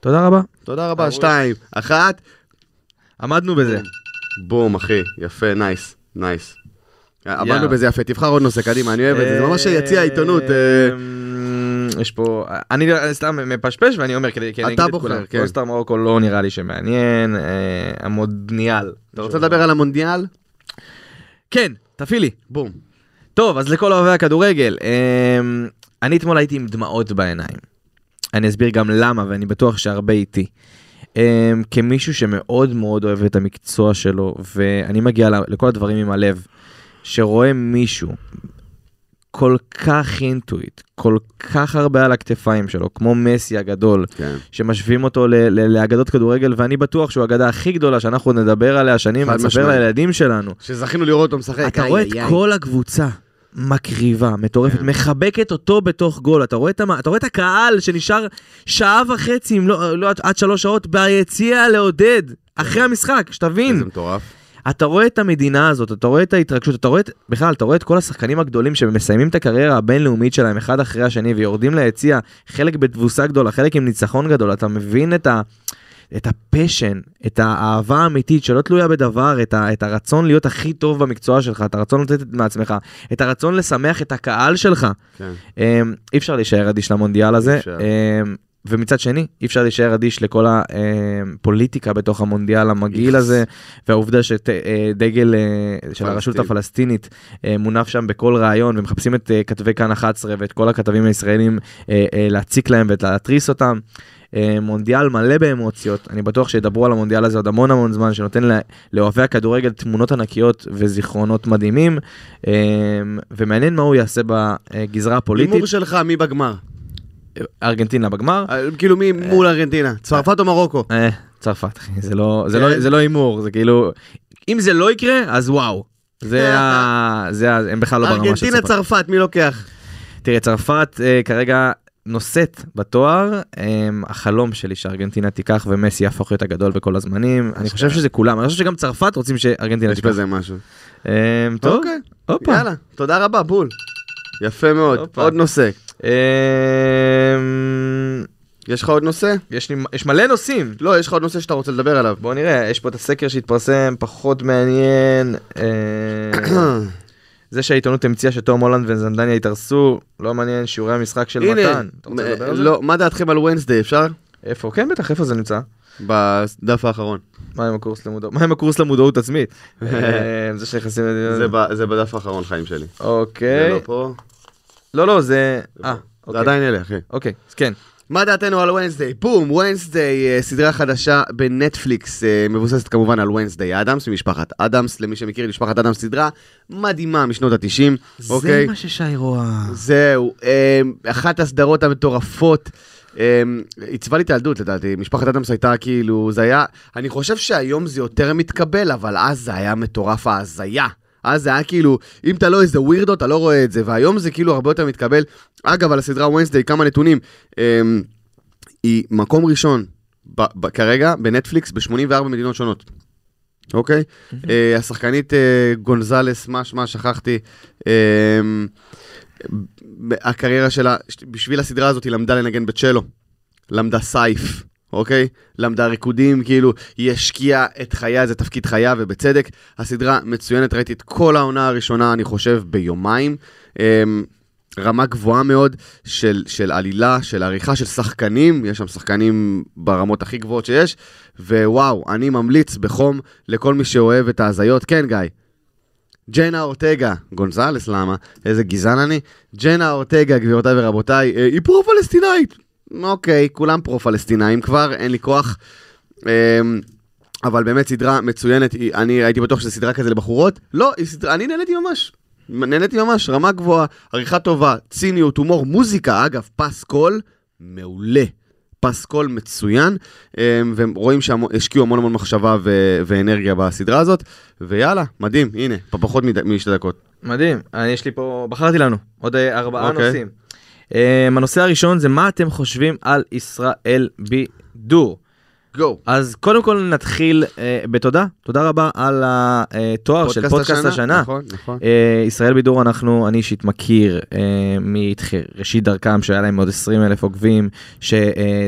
C: תודה רבה,
B: תודה רבה, שתיים, אחת,
C: עמדנו בזה.
B: בום אחי, יפה, נייס, נייס.
C: יאללה.
B: עמדנו בזה יפה, תבחר עוד נושא, קדימה, אני
C: כן,
B: אוהב את זה, זה ממש יציע העיתונות. אה,
C: אה, יש פה, אני לא- אני סתם מפשפש ואני אומר כדי, כי אני
B: אתה
C: אגיד את
B: בוחר,
C: כולם.
B: כן.
C: כל סטאר מרוקו לא נראה לי שמעניין, אה, המודניאל.
B: אתה רוצה לדבר על המונדיאל?
C: כן, תפעיל לי.
B: בום.
C: טוב, אז לכל אוהבי הכדורגל, אמ, אני אתמול הייתי עם דמעות בעיניים. אני אסביר גם למה, ואני בטוח שהרבה איתי. אמ, כמישהו שמאוד מאוד אוהב את המקצוע שלו, ואני מגיע ל- לכל הדברים עם הלב, שרואה מישהו כל כך אינטואיט, כל כך הרבה על הכתפיים שלו, כמו מסי הגדול,
B: כן.
C: שמשווים אותו ל- ל- לאגדות כדורגל, ואני בטוח שהוא האגדה הכי גדולה שאנחנו עוד נדבר עליה שנים,
B: חד
C: נספר
B: משמעית.
C: לילדים שלנו.
B: שזכינו לראות אותו משחק.
C: אתה
B: איי,
C: רואה את
B: איי, איי.
C: כל הקבוצה מקריבה, מטורפת,
B: כן.
C: מחבקת אותו בתוך גול. אתה רואה את, המ... אתה רואה את הקהל שנשאר שעה וחצי, אם לא, לא עד- עד שלוש שעות, ביציע לעודד,
B: כן.
C: אחרי המשחק, שתבין.
B: זה מטורף.
C: אתה רואה את המדינה הזאת, אתה רואה את ההתרגשות, אתה רואה את, בכלל, אתה רואה את כל השחקנים הגדולים שמסיימים את הקריירה הבינלאומית שלהם אחד אחרי השני ויורדים ליציע, חלק בתבוסה גדולה, חלק עם ניצחון גדול, אתה מבין את ה... את הפשן, את האהבה האמיתית שלא תלויה בדבר, את, ה, את הרצון להיות הכי טוב במקצוע שלך, את הרצון לתת את מעצמך, את הרצון לשמח את הקהל שלך.
B: כן.
C: אמ, אי אפשר להישאר אדיש למונדיאל
B: אי
C: הזה.
B: אפשר.
C: אמ, ומצד שני, אי אפשר להישאר אדיש לכל הפוליטיקה בתוך המונדיאל המגעיל
B: איכס.
C: הזה, והעובדה שדגל אה, של הרשות
B: פלסטין.
C: הפלסטינית אה, מונף שם בכל ראיון, ומחפשים את אה, כתבי כאן 11 ואת כל הכתבים הישראלים אה, אה, להציק להם ולהתריס אותם. אה, מונדיאל מלא באמוציות, אני בטוח שידברו על המונדיאל הזה עוד המון המון זמן, שנותן לה- לאוהבי הכדורגל תמונות ענקיות וזיכרונות מדהימים, אה, ומעניין מה הוא יעשה בגזרה הפוליטית.
B: הימור שלך, מי בגמר?
C: ארגנטינה בגמר,
B: אה, כאילו מי מול ארגנטינה? צרפת או מרוקו?
C: אה, צרפת, אחי, זה לא- זה לא-
B: כן.
C: זה לא הימור, זה כאילו, אם זה לא יקרה, אז
B: *laughs*
C: וואו. זה ה... זה ה... הם בכלל לא ברמה של
B: ארגנטינה,
C: צרפת.
B: צרפת, מי לוקח?
C: תראה, צרפת אה, כרגע נושאת בתואר, אה, החלום שלי שארגנטינה תיקח ומסי יהפוך להיות הגדול בכל הזמנים, אני חושב שזה כולם, אני חושב שגם צרפת רוצים שארגנטינה
B: יש
C: תיקח.
B: בזה משהו.
C: אה, טוב,
B: אוקיי,
C: הופה.
B: יאללה, תודה רבה, בול. יפה מאוד,
C: הופה.
B: עוד נושא.
C: אה,
B: יש לך עוד נושא?
C: יש לי- יש מלא נושאים.
B: לא, יש לך עוד נושא שאתה רוצה לדבר
C: *coughs*
B: עליו.
C: בוא נראה, יש פה את הסקר שהתפרסם, פחות מעניין. אה, זה שהעיתונות המציאה שתום הולנד וזנדניה התארסו, לא מעניין שיעורי המשחק של
B: הנה,
C: מתן. אתה רוצה לדבר על זה?
B: לא, מה דעתכם על ונסדי, אפשר?
C: איפה? כן, בטח, איפה זה נמצא?
B: בדף האחרון.
C: מה עם הקורס למודעות? מה עם הקורס למודעות עצמית? אה, זה שנכנסים לדיון.
B: זה ב- זה בדף האחרון חיים שלי. זה
C: אוקיי.
B: לא פה.
C: לא, לא, זה... אה,
B: זה
C: אוקיי.
B: עדיין אלה, אחי.
C: אוקיי, אז כן.
B: מה דעתנו על ונסדיי? בום, ונסדיי, סדרה חדשה בנטפליקס, אה, מבוססת כמובן על ונסדיי אדמס, ממשפחת אדמס, למי שמכיר, משפחת אדמס סדרה מדהימה משנות ה-90, אוקיי?
C: ששי רואה.
B: זהו, אה, אחת הסדרות המטורפות. אה, עיצבה לי את הילדות לדעתי, משפחת אדמס הייתה כאילו, זה היה, אני חושב שהיום זה יותר מתקבל, אבל אז זה היה מטורף ההזיה. אז זה היה כאילו, אם אתה לא איזה ווירדו, אתה לא רואה את זה, והיום זה כאילו הרבה יותר מתקבל. אגב, על הסדרה ונסדיי, כמה נתונים. אה, היא מקום ראשון ב- ב- כרגע בנטפליקס ב-84 מדינות שונות. אוקיי? אה, השחקנית אה, גונזלס, מה שמה, שכחתי. אה, ב- הקריירה שלה, ש- בשביל הסדרה הזאת היא למדה לנגן בצ'לו. למדה סייף, אוקיי? למדה ריקודים, כאילו, היא השקיעה את חייה, זה תפקיד חייה, ובצדק. הסדרה מצוינת, ראיתי את כל העונה הראשונה, אני חושב, ביומיים. אה, רמה גבוהה מאוד של, של עלילה, של עריכה, של שחקנים, יש שם שחקנים ברמות הכי גבוהות שיש, ווואו, אני ממליץ בחום לכל מי שאוהב את ההזיות, כן גיא. ג'נה אורטגה, גונזלס למה, איזה גזען אני, ג'נה אורטגה, גבירותיי ורבותיי, אה, היא פרו-פלסטינאית. אוקיי, כולם פרו-פלסטינאים כבר, אין לי כוח. אמ, אבל באמת סדרה מצוינת, היא- אני הייתי בטוח שזו סדרה כזה לבחורות, לא, היא סדרה, אני נהניתי ממש. נהניתי ממש, רמה גבוהה, עריכה טובה, ציניות, הומור, מוזיקה, אגב, פסקול, מעולה. פסקול מצוין, אמ, ורואים שהשקיעו המון המון מחשבה ו- ואנרגיה בסדרה הזאת, ויאללה, מדהים, הנה, פחות מד- משתי דקות.
C: מדהים, אני- יש לי פה, בחרתי לנו עוד אה, ארבעה
B: אוקיי.
C: נושאים. אמ, הנושא הראשון זה מה אתם חושבים על ישראל בידור.
B: גו.
C: אז קודם כל נתחיל אה, בתודה, תודה רבה על התואר של פודקאסט השנה.
B: נכון, נכון.
C: אה, ישראל בידור אנחנו, אני אישית מכיר אה, מראשית דרכם שהיה להם עוד 20 אלף עוקבים,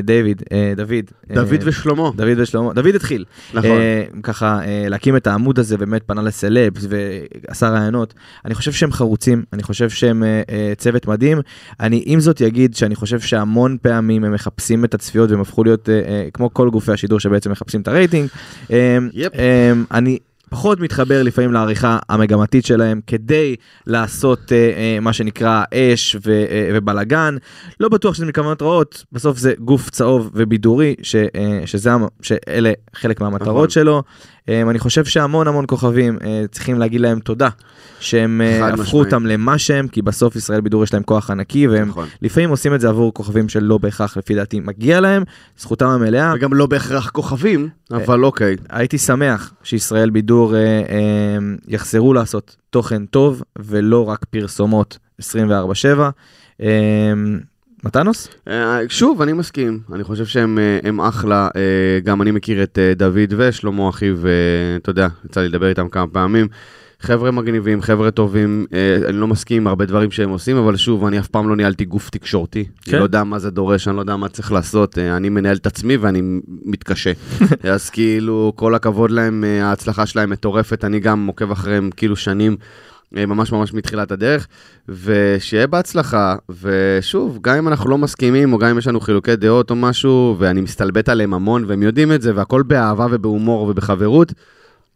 C: שדויד, דוד, אה,
B: דוד ושלמה,
C: דוד ושלמה, דוד התחיל,
B: נכון.
C: אה, ככה אה, להקים את העמוד הזה באמת פנה לסלבס ועשה רעיונות. אני חושב שהם חרוצים, אני חושב שהם אה, אה, צוות מדהים. אני עם זאת אגיד שאני חושב שהמון פעמים הם מחפשים את הצפיות והם הפכו להיות אה, אה, כמו כל גופי השידור שבעצם מחפשים את הרייטינג. אה,
B: יפ.
C: אה, אני פחות מתחבר לפעמים לעריכה המגמתית שלהם כדי לעשות אה, אה, מה שנקרא אש ו, אה, ובלאגן. לא בטוח שזה מכוונות רעות, בסוף זה גוף צהוב ובידורי, ש, אה, שזה, המ- שאלה חלק
B: נכון.
C: מהמטרות שלו. אה, אני חושב שהמון המון כוכבים אה, צריכים להגיד להם תודה, שהם אה,
B: חד
C: הפכו
B: משמעית.
C: אותם למה שהם, כי בסוף ישראל בידור יש להם כוח ענקי, והם
B: נכון.
C: לפעמים עושים את זה עבור כוכבים שלא בהכרח לפי דעתי מגיע להם, זכותם המלאה.
B: וגם לא בהכרח כוכבים, אבל אוקיי.
C: הייתי שמח שישראל בידור אה, אה, יחזרו לעשות תוכן טוב ולא רק פרסומות 24/7. אה, מתנוס?
B: אה, שוב, אני מסכים, אני חושב שהם אה, הם אחלה, אה, גם אני מכיר את אה, דוד ושלמה אחיו, אה, אתה יודע, יצא לי לדבר איתם כמה פעמים. חבר'ה מגניבים, חבר'ה טובים, אה, אני לא מסכים עם הרבה דברים שהם עושים, אבל שוב, אני אף פעם לא ניהלתי גוף תקשורתי. כן.
C: כן.
B: אני לא יודע מה זה דורש, אני לא יודע מה צריך לעשות, אה, אני מנהל את עצמי ואני מתקשה. אז כאילו, כל הכבוד להם, אה, ההצלחה שלהם מטורפת, אני גם עוקב אחריהם כאילו שנים. אה, ממש ממש מתחילת הדרך, ושיהיה בהצלחה, ושוב, גם אם אנחנו לא מסכימים, או גם אם יש לנו חילוקי דעות או משהו, ואני מסתלבט עליהם המון, והם יודעים את זה, והכל באהבה ובהומור ובחברות,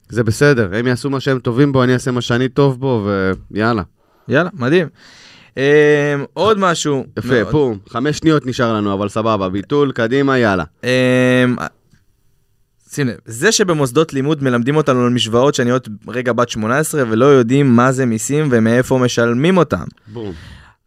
B: זה בסדר, הם יעשו מה שהם טובים בו, אני אעשה מה שאני טוב בו, ויאללה.
C: יאללה, מדהים. אה, עוד משהו.
B: יפה, בום, חמש שניות נשאר לנו, אבל סבבה, ביטול, קדימה, יאללה.
C: אמ, שים לב, זה שבמוסדות לימוד מלמדים אותנו על משוואות שאני עוד רגע בת 18 ולא יודעים מה זה מיסים ומאיפה משלמים אותם.
B: בום.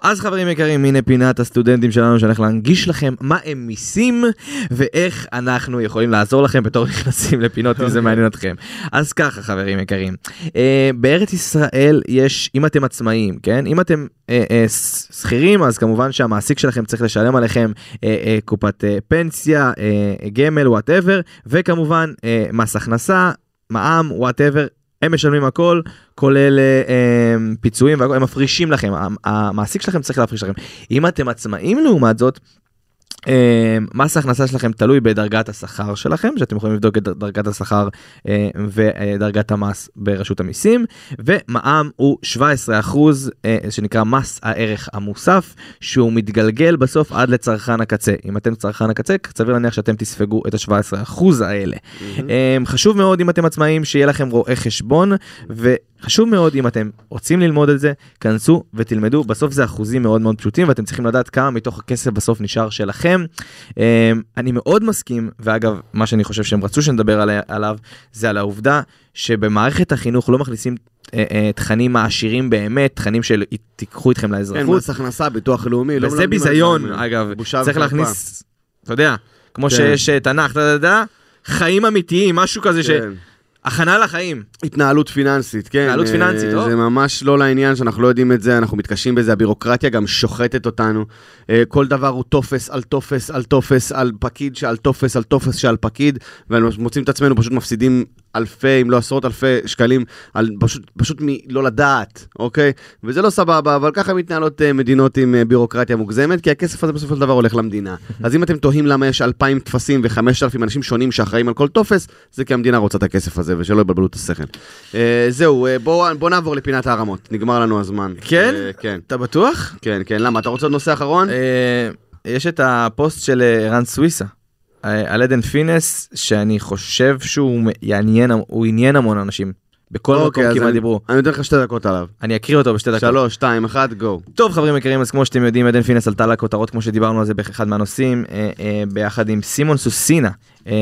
C: אז חברים יקרים, הנה פינת הסטודנטים שלנו שהולך להנגיש לכם מה הם מיסים ואיך אנחנו יכולים לעזור לכם בתור נכנסים לפינות אם זה מעניין אתכם. אז ככה חברים יקרים, אה, בארץ ישראל יש, אם אתם עצמאים, כן? אם אתם אה, אה, ס- שכירים אז כמובן שהמעסיק שלכם צריך לשלם עליכם אה, אה, קופת אה, פנסיה, אה, גמל, וואטאבר, וכמובן אה, מס הכנסה, מע"מ, וואטאבר. הם משלמים הכל, כולל אה, אה, פיצויים, והכל, הם מפרישים לכם, המ- המעסיק שלכם צריך להפריש לכם. אם אתם עצמאים לעומת זאת, אה, מס ההכנסה שלכם תלוי בדרגת השכר שלכם, שאתם יכולים לבדוק את דרגת השכר אה, ודרגת המס ברשות המיסים, ומע"מ הוא 17% אה, שנקרא מס הערך המוסף, שהוא מתגלגל בסוף עד לצרכן הקצה. אם אתם צרכן הקצה, סביר להניח שאתם תספגו את ה-17% האלה. אמ, חשוב מאוד אם אתם עצמאים שיהיה לכם רואה חשבון וחשוב מאוד אם אתם רוצים ללמוד את זה כנסו ותלמדו בסוף זה אחוזים מאוד מאוד פשוטים ואתם צריכים לדעת כמה מתוך הכסף בסוף נשאר שלכם. אמ, אני מאוד מסכים ואגב מה שאני חושב שהם רצו שנדבר עלי- עליו זה על העובדה שבמערכת החינוך לא מכניסים אה, אה, תכנים מעשירים באמת תכנים של תיקחו איתכם
B: אין
C: לאזרחות.
B: כן, מס הכנסה, ביטוח לאומי, לא
C: וזה
B: מלמדים על
C: ביזיון
B: הדברים האלה.
C: אגב
B: בושה
C: צריך
B: וחרפה.
C: להכניס אתה יודע כמו
B: כן.
C: שיש אה, תנ"ך אתה יודע. חיים אמיתיים משהו כזה ש...
B: כן.
C: הכנה לחיים.
B: התנהלות פיננסית, כן.
C: התנהלות
B: אה,
C: פיננסית, טוב.
B: זה ממש לא לעניין שאנחנו לא יודעים את זה, אנחנו מתקשים בזה, הבירוקרטיה גם שוחטת אותנו. אה, כל דבר הוא טופס על טופס על טופס על פקיד שעל טופס על טופס שעל פקיד, ואנחנו מוצאים את עצמנו פשוט מפסידים אלפי, אם לא עשרות אלפי שקלים, על, פשוט, פשוט מלא לדעת, אוקיי? וזה לא סבבה, אבל ככה מתנהלות אה, מדינות עם אה, בירוקרטיה מוגזמת, כי הכסף הזה בסופו של דבר הולך
C: *laughs*
B: למדינה. אז אם אתם תוהים למה יש 2,000 טפסים ו-5,000 אנשים שונים שאחראים על כל טופס, זה כי המדינה רוצה את הכסף הזה, ושלא יבלבלו את השכל. אה, זהו, אה, בואו בוא נעבור לפינת הערמות, נגמר לנו הזמן.
C: כן?
B: אה, כן.
C: אתה בטוח?
B: כן, כן, למה? אתה רוצה עוד נושא אחרון?
C: אה, יש את הפוסט של אה, ערן סוויסה אה, על עדן פינס, שאני חושב שהוא מ- יעניין, הוא עניין המון אנשים. בכל
B: אוקיי,
C: מקום
B: אז
C: כמעט
B: אני-
C: דיברו.
B: אני נותן לך שתי דקות עליו.
C: אני אקריא אותו בשתי דקות.
B: שלוש, שתיים, אחת, גו.
C: טוב חברים יקרים אז כמו שאתם יודעים עדן פינס עלתה לכותרות כמו שדיברנו על זה באחד מהנושאים אה, אה, ביחד עם סימון סוסינה אה,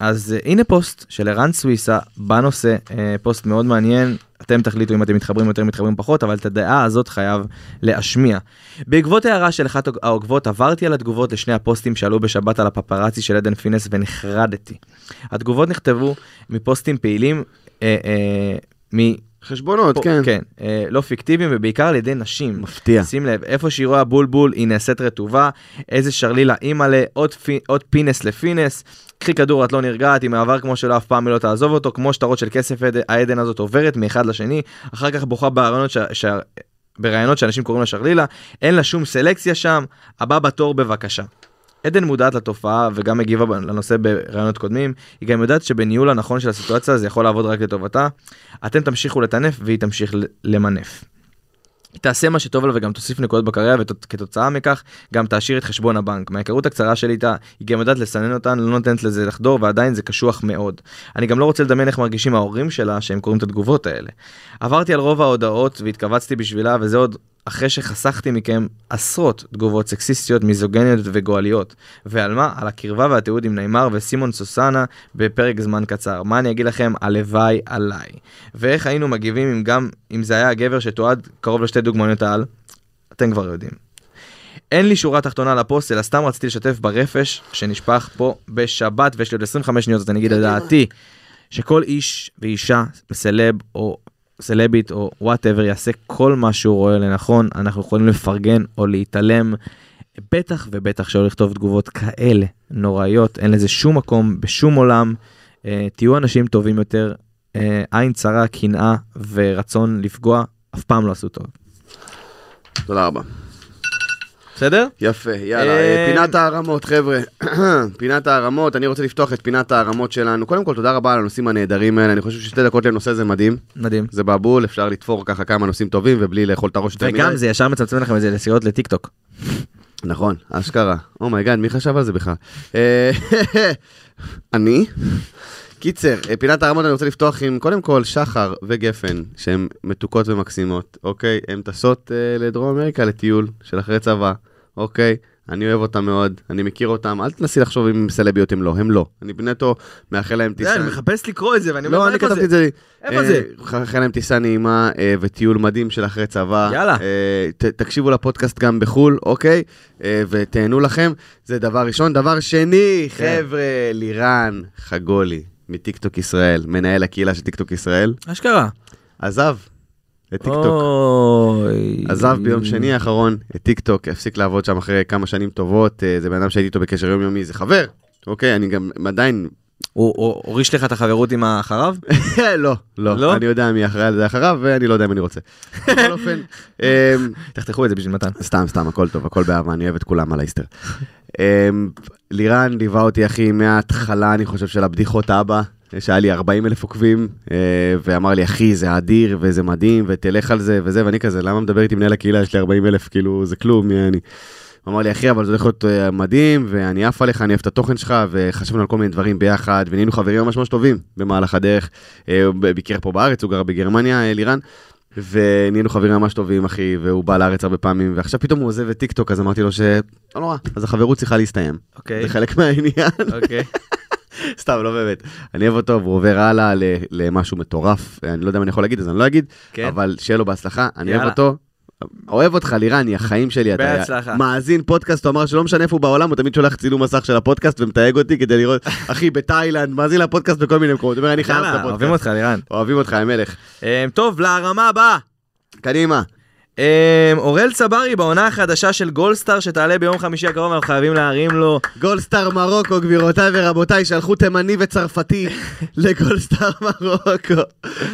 C: אז אה, הנה פוסט של ערן סוויסה בנושא אה, פוסט מאוד מעניין אתם תחליטו אם אתם מתחברים יותר מתחברים פחות אבל את הדעה הזאת חייב להשמיע. בעקבות הערה של אחת העוקבות עברתי על התגובות לשני הפוסטים שעלו בשבת על הפפרצי של עדן פינס ונחרדתי. התגובות נכתבו מפוסטים פעילים. אה, אה, מ-
B: חשבונות,
C: פה-
B: כן.
C: כן, אה, לא פיקטיביים ובעיקר על ידי נשים.
B: מפתיע.
C: שים לב, איפה שהיא רואה בולבול היא נעשית רטובה, איזה שרלילה אימאלה, עוד, פי- עוד פינס לפינס, קחי כדור את לא נרגעת, היא מעבר כמו שלא אף פעם היא לא תעזוב אותו, כמו שטרות של כסף עד- העדן הזאת עוברת מאחד לשני, אחר כך בוכה ברעיונות ש... ש... ברעיונות שאנשים קוראים לה שרלילה, אין לה שום סלקציה שם, הבא בתור בבקשה. עדן מודעת לתופעה וגם הגיבה בנ- לנושא ברעיונות קודמים, היא גם יודעת שבניהול הנכון של הסיטואציה זה יכול לעבוד רק לטובתה. אתם תמשיכו לטנף והיא תמשיך ל- למנף. היא תעשה מה שטוב לה וגם תוסיף נקודות בקריירה וכתוצאה מכך גם תעשיר את חשבון הבנק. מההיכרות הקצרה שלי איתה, היא גם יודעת לסנן אותן, לא נותנת לזה לחדור ועדיין זה קשוח מאוד. אני גם לא רוצה לדמיין איך מרגישים ההורים שלה שהם קוראים את התגובות האלה. עברתי על רוב ההודעות והתכווצתי בשבילה וזה עוד אחרי שחסכתי מכם עשרות תגובות סקסיסטיות, מיזוגניות וגועליות. ועל מה? על הקרבה והתיעוד עם נאמר וסימון סוסנה בפרק זמן קצר. מה אני אגיד לכם? הלוואי עליי. ואיך היינו מגיבים אם גם אם זה היה הגבר שתועד קרוב לשתי דוגמניות העל? אתם כבר יודעים. אין לי שורה תחתונה לפוסט, אלא סתם רציתי לשתף ברפש שנשפך פה בשבת, ויש לי עוד 25 שניות, אז אני אגיד את דעתי, שכל איש ואישה, סלב או סלבית או וואטאבר, יעשה כל מה שהוא רואה לנכון, אנחנו יכולים לפרגן או להתעלם. בטח ובטח שלא לכתוב תגובות כאלה נוראיות, אין לזה שום מקום בשום עולם. אה, תהיו אנשים טובים יותר, אה, עין צרה, קנאה ורצון לפגוע, אף פעם לא עשו טוב.
B: תודה רבה.
C: בסדר?
B: יפה, יאללה,
C: אה,
B: אה, פינת הערמות, חבר'ה. *clears throat* פינת הערמות, אני רוצה לפתוח את פינת הערמות שלנו. קודם כל, תודה רבה על הנושאים הנהדרים האלה, אני חושב ששתי דקות לנושא זה מדהים.
C: מדהים.
B: זה בבול, אפשר לתפור ככה כמה נושאים טובים ובלי לאכול את הראש יותר
C: וגם זה ישר מצמצם לכם את זה לסירות לטיק טוק.
B: נכון, אשכרה. אומייגאד, מי חשב על זה בכלל? אה, *laughs* אני? קיצר, אה, פינת הרמות אני רוצה לפתוח עם קודם כל שחר וגפן, שהן מתוקות ומקסימות, אוקיי? הן טסות אה, לדרום אמריקה לטיול של אחרי צבא, אוקיי? אני אוהב אותם מאוד, אני מכיר אותם, אל תנסי לחשוב אם הם סלביות הם לא, הם לא. אני נטו מאחל להם טיסה.
C: מחפש לקרוא את זה ואני
B: לא, אני כתבתי את זה.
C: איפה זה?
B: אחרי להם טיסה נעימה אה, וטיול מדהים של אחרי צבא.
C: יאללה.
B: אה, ת- תקשיבו לפודקאסט גם בחו"ל, אוקיי? אה, ותהנו לכם. זה דבר ראשון. דבר שני,
C: כן.
B: חבר'ה, לירן חגולי מטיקטוק ישראל, מנהל הקהילה של טיקטוק ישראל,
C: אשכרה.
B: עזב את טיקטוק.
C: אוי.
B: עזב ביום שני האחרון את טיקטוק, הפסיק לעבוד שם אחרי כמה שנים טובות. אה, זה בן אדם שהייתי איתו בקשר יומיומי, זה חבר. אוקיי, אני גם עדיין
C: הוא הוא הוריש לך את החברות עם האחריו? *laughs*
B: *laughs* לא,
C: לא?
B: לא, אני יודע מי אחראי על זה אחריו, ואני לא יודע אם אני רוצה. בכל אופן, אמ,
C: תחתכו את זה בשביל מתן.
B: סתם, סתם, הכל טוב, הכל באהבה, אני אוהב את כולם על האיסטר. אמ, לירן ליווה אותי, אחי, מההתחלה, אני חושב, של הבדיחות אבא, שהיה לי 40 אלף עוקבים, אה, ואמר לי, אחי, זה אדיר, וזה מדהים, ותלך על זה, וזה, ואני כזה, למה מדבר איתי מנהל הקהילה, יש לי 40 אלף, כאילו, זה כלום, מי אני... הוא אמר לי, אחי, אבל זה הולך להיות אה, מדהים, ואני עף עליך, אני אוהב את התוכן שלך, וחשבנו על כל מיני דברים ביחד, ונהיינו חברים ממש ממש טובים במהלך הדרך. אה, הוא ביקר פה בארץ, הוא גר בגרמניה, אה, לירן. ונהיינו חברים ממש טובים, אחי, והוא בא לארץ הרבה פעמים, ועכשיו פתאום הוא עוזב את טיקטוק, אז אמרתי לו ש... לא נורא, אז החברות צריכה להסתיים.
C: אוקיי.
B: זה חלק מהעניין.
C: *laughs* אוקיי.
B: סתם, לא באמת. אני אוהב אותו, והוא עובר הלאה ל- למשהו מטורף. אני לא יודע אם אני יכול להגיד, אז אני לא אגיד,
C: כן.
B: אבל שיהיה לו בהצלחה, אני אוהב
C: יאללה.
B: אותו. אוהב אותך, לירן, יא החיים שלי. אתה
C: בהצלחה.
B: מאזין פודקאסט, הוא אמר שלא משנה איפה הוא בעולם, הוא תמיד שולח צילום מסך של הפודקאסט ומתייג אותי כדי
C: *laughs*
B: לראות, אחי, בתאילנד, מאזין לפודקאסט בכל מיני מקומות. הוא אומר, אני חייב את
C: יאללה, אוהבים
B: הפודקאסט.
C: אותך לירן.
B: אוהבים אותך, המלך.
C: אה, טוב, לרמה הבאה.
B: קדימה.
C: אה, אוראל צברי בעונה החדשה של גולדסטאר שתעלה ביום חמישי הקרוב, אנחנו חייבים להרים לו.
B: גולדסטאר מרוקו, גבירותיי ורבותיי, שלחו תימני
C: *laughs*
B: וצרפתי לגולדסטאר מרוקו.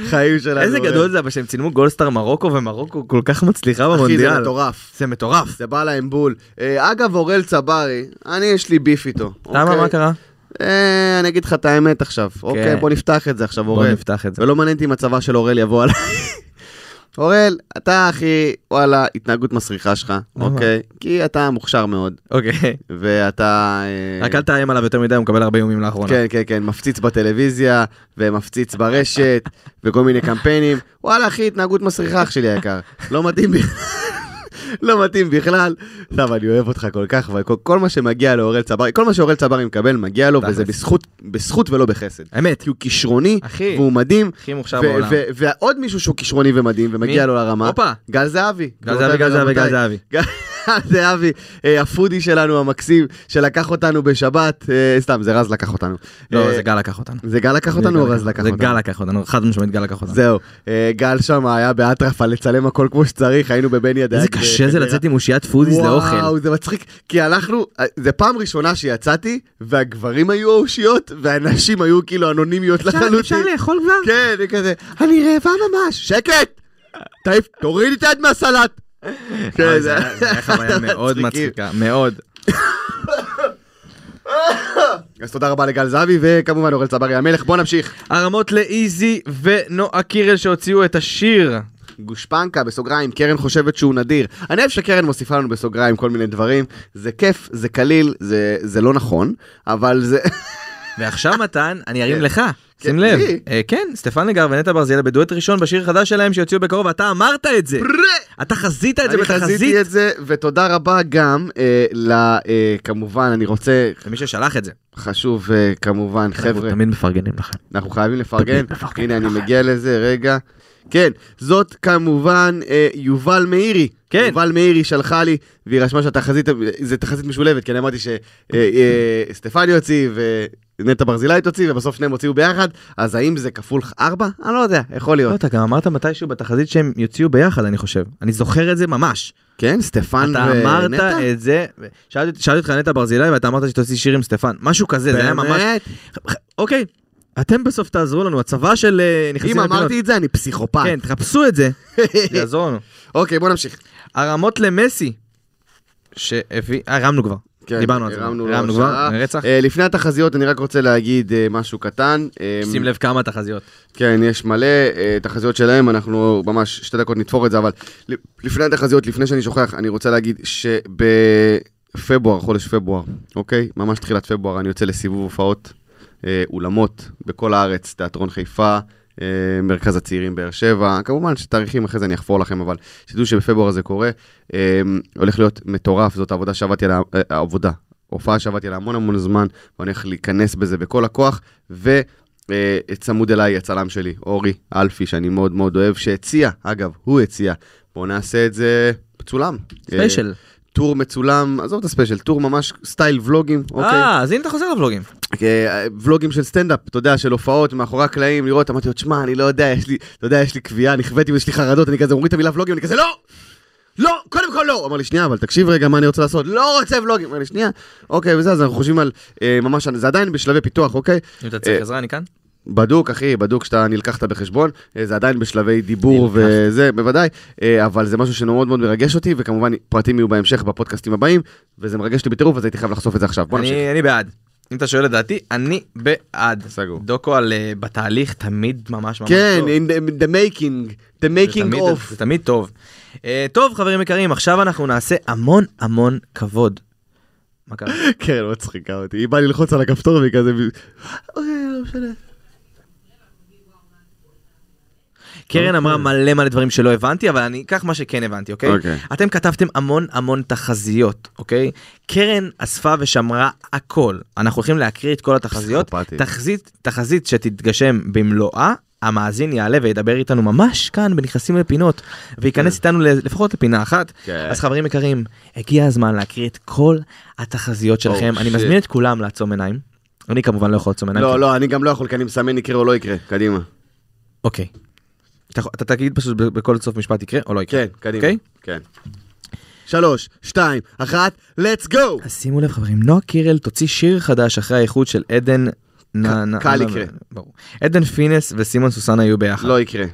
B: חיים שלנו.
C: איזה גדול זה אבל שהם צילמו גולדסטאר מרוקו ומרוקו כל כך מצליחה
B: אחי,
C: במונדיאל.
B: זה מטורף.
C: זה מטורף.
B: זה בא להם בול. אה, אגב, אוראל צברי, אני יש לי ביף איתו.
C: למה
B: אוקיי?
C: מה קרה?
B: אה, אני אגיד לך את האמת עכשיו. אוקיי, בוא נפתח את זה עכשיו,
C: בואו
B: אוראל.
C: נפתח את זה.
B: ולא מעניין אותי אם הצבא של אוראל יבוא עליי. *laughs* אוראל, אתה אחי, וואלה, התנהגות מסריחה שלך,
C: למה?
B: אוקיי? כי אתה מוכשר מאוד,
C: אוקיי.
B: ואתה... אה,
C: *laughs* רק אל תאיים עליו יותר מדי, הוא מקבל הרבה איומים לאחרונה.
B: כן, כן, כן, מפציץ בטלוויזיה, ומפציץ
C: *laughs*
B: ברשת, וכל מיני קמפיינים. וואלה, אחי, התנהגות מסריחה, אח שלי היקר. לא מתאים בי... *laughs* לא מתאים בכלל. עכשיו, אני אוהב אותך כל כך, אבל כל, כל מה שמגיע לאורל צברי, כל מה שאורל צברי מקבל, מגיע לו, וזה
C: תכלס.
B: בזכות, בזכות ולא בחסד.
C: אמת.
B: כי הוא כישרוני,
C: אחי.
B: והוא מדהים,
C: הכי
B: ו-
C: מוכשר בעולם.
B: ו- ועוד מישהו שהוא כישרוני ומדהים, ומגיע
C: מי?
B: לו לרמה.
C: הופה.
B: גל זהבי.
C: גל זהבי, גל זהבי, גל זהבי.
B: גל זהבי, אה, הפודי שלנו המקסים, שלקח אותנו בשבת, אה, סתם, זה רז לקח אותנו.
C: לא,
B: אה,
C: זה גל לקח אותנו.
B: זה גל לקח אותנו או רז לקח אותנו?
C: זה גל לקח אותנו, חד משמעית גל לקח אותנו.
B: זהו, אה, גל שם היה באטרפה לצלם הכל כמו שצריך, היינו בבן ידיים. אה,
C: איזה קשה זה לצאת עם אושיית פודיס לאוכל.
B: וואו, זה מצחיק, כי הלכנו, אה, זה פעם ראשונה שיצאתי, והגברים היו האושיות, והנשים היו כאילו אנונימיות לחלוטין.
C: לאכול אה, כבר?
B: כן, היא כזה, אני רעבה ממש, שקט! תעיף, תוריד את היד מהסלט! כן,
C: אה, זה היה זה
B: *laughs*
C: היה חוויה מאוד
B: מצחיקים.
C: מצחיקה, מאוד.
B: אז תודה רבה לגל זהבי, וכמובן אורל צברי המלך, בוא נמשיך.
C: הרמות לאיזי ונועה קירל שהוציאו את השיר.
B: גושפנקה, בסוגריים, קרן חושבת שהוא נדיר. אני אוהב שקרן מוסיפה לנו בסוגריים כל מיני דברים, זה כיף, זה קליל, זה- זה לא נכון, אבל
C: *laughs*
B: זה...
C: ועכשיו מתן, אני ארים
B: כן.
C: לך,
B: כן,
C: שים לב.
B: לי?
C: אה, כן, סטפן לגר ונטע ברזיאל בדואט ראשון בשיר החדש שלהם שיוציאו בקרוב, ואתה אמרת את זה. אתה חזית את זה
B: אני
C: בתחזית.
B: חזיתי את זה, ותודה רבה גם אה, ל... אה, כמובן, אני רוצה,
C: למי ששלח את זה.
B: חשוב אה, כמובן,
C: אנחנו
B: חבר'ה,
C: תמיד מפרגנים לכם.
B: אנחנו חייבים לפרגן.
C: תמיד מפרגן
B: הנה, אני
C: לכם.
B: מגיע לזה, רגע. כן, זאת כמובן אה, יובל מאירי.
C: כן.
B: יובל מאירי שלחה לי, והיא רשמה שהתחזית, זה תחזית משולבת, כי אני אמרתי שסטפני הוציא ונטע ברזילי תוציא, ובסוף שניהם הוציאו ביחד, אז האם זה כפול ארבע? אני לא יודע, יכול
C: לא,
B: להיות.
C: אתה גם אמרת מתישהו בתחזית שהם יוציאו ביחד, אני חושב. אני זוכר את זה ממש.
B: כן, סטפן
C: לא- אתה אמרת אה, את זה, ו- שאלתי שאלתי אותך נטע ברזילי ואתה אמרת שתוציא שיר עם סטפן, משהו כזה, זה היה ממש,
B: באמת?
C: אוקיי, אתם בסוף תעזרו לנו, הצבא של אה, נכנסים
B: אם אמרתי את זה, אני פסיכופת.
C: כן, תחפשו את זה, זה *laughs* יעזור לנו.
B: אוקיי, בוא נמשיך.
C: הרמות למסי, שהביא, אה, הרמנו כבר,
B: כן,
C: דיברנו על זה,
B: הרמנו לו
C: הרמנו
B: שעה.
C: כבר, רצח,
B: אה, לפני התחזיות, אני רק רוצה להגיד אה, משהו קטן. אה,
C: שים לב כמה תחזיות.
B: כן, יש מלא אה, תחזיות שלהם, אנחנו ממש שתי דקות נתפור את זה, אבל ל- לפני התחזיות, לפני שאני שוכח, אני רוצה להגיד שבפברואר, חודש פברואר, אוקיי? ממש תחילת פברואר, אני יוצא לסיבוב הופעות אה, אולמות בכל הארץ, תיאטרון חיפה, אה, מרכז הצעירים באר שבע, כמובן שתאריכים אחרי זה אני אחפור לכם, אבל שתדעו שבפברואר זה קורה, אה, הולך להיות מטורף, זאת העבודה שעבדתי על ה... אה, העבודה, הופעה שעבדתי עליה המון המון זמן, ואני הולך להיכנס בזה בכל הכוח, ו... אה, צמוד אליי הצלם שלי, אורי אלפי, שאני מאוד מאוד אוהב, שהציע, אגב, הוא הציע, בואו נעשה את זה מצולם. אה,
C: ספיישל,
B: טור מצולם, עזוב את הספיישל, טור ממש סטייל ולוגים, אוקיי?
C: אה, אז הנה אתה חוזר לבלוגים,
B: אה, ולוגים של סטנדאפ, אתה יודע, של הופעות, מאחורי הקלעים, לראות, אמרתי לו, תשמע, אני לא יודע, יש לי, אתה יודע, יש לי קביעה, נכוויתי ויש לי חרדות, אני כזה, אומרים את המילה ולוגים, אני כזה, לא! לא, קודם כל לא! הוא אמר לי, שנייה, אבל תקשיב רגע מה אני רוצה לעשות, לא רוצה ולוגים! אמר לי, שנייה, אוקיי, וזה, אז אנחנו חושבים על, אה, ממש, זה עדיין בשלבי פיתוח, אוקיי?
C: אם אתה צריך
B: אה,
C: עזרה אני כאן,
B: בדוק, אחי, בדוק שאתה נלקחת בחשבון, אה, זה עדיין בשלבי דיבור
C: נלקחת.
B: וזה, בוודאי, אה, אבל זה משהו שמאוד מאוד מרגש אותי, וכמובן פרטים יהיו בהמשך בפודקאסטים הבאים, וזה מרגש אותי בטירוף, אז הייתי חייב לחשוף את זה עכשיו. בוא נמשיך.
C: אני אני בעד. אם אתה שואל את דעתי, אני בעד.
B: סגור.
C: דוקו על אה, בתהליך תמיד ממש ממש
B: כן,
C: טוב.
B: in the- the making, the
C: זה
B: making
C: תמיד-
B: of.
C: זה תמיד טוב. אה, טוב חברים יקרים עכשיו אנחנו נעשה המון המון כבוד. מה קרה?
B: *laughs* כן, לא מצחיקה אותי, היא באה ללחוץ על הכפתור והיא כזה... אוקיי, לא משנה.
C: קרן אמרה מלא מלא דברים שלא הבנתי אבל אני אקח מה שכן הבנתי אוקיי?
B: אוקיי.
C: אתם כתבתם המון המון תחזיות אוקיי? קרן אספה ושמרה הכל אנחנו הולכים להקריא את כל התחזיות
B: פסיכופטית.
C: תחזית תחזית שתתגשם במלואה. המאזין יעלה וידבר איתנו ממש כאן בנכנסים לפינות וייכנס איתנו ל- לפחות לפינה אחת
B: כן.
C: אז חברים יקרים הגיע הזמן להקריא את כל התחזיות שלכם אני
B: Oh, shit.
C: מזמין את כולם לעצום עיניים. אני כמובן לא יכול לעצום עיניים.
B: לא,
C: כי-
B: לא, אני גם לא יכול, כי אני מסמן יקרה או לא יקרה, קדימה.
C: אוקיי. אתה יכול- אתה תגיד פשוט ב- בכל סוף משפט יקרה או לא יקרה?
B: כן, קדימה.
C: אוקיי?
B: כן. שלוש, שתיים, אחת, let's go!
C: אז שימו לב חברים, נועה קירל תוציא שיר חדש אחרי האיחוד של עדן... נ- נ-
B: קל
C: נ-
B: יקרה.
C: ברור. עדן פינס וסימון סוסן היו ביחד.
B: לא יקרה.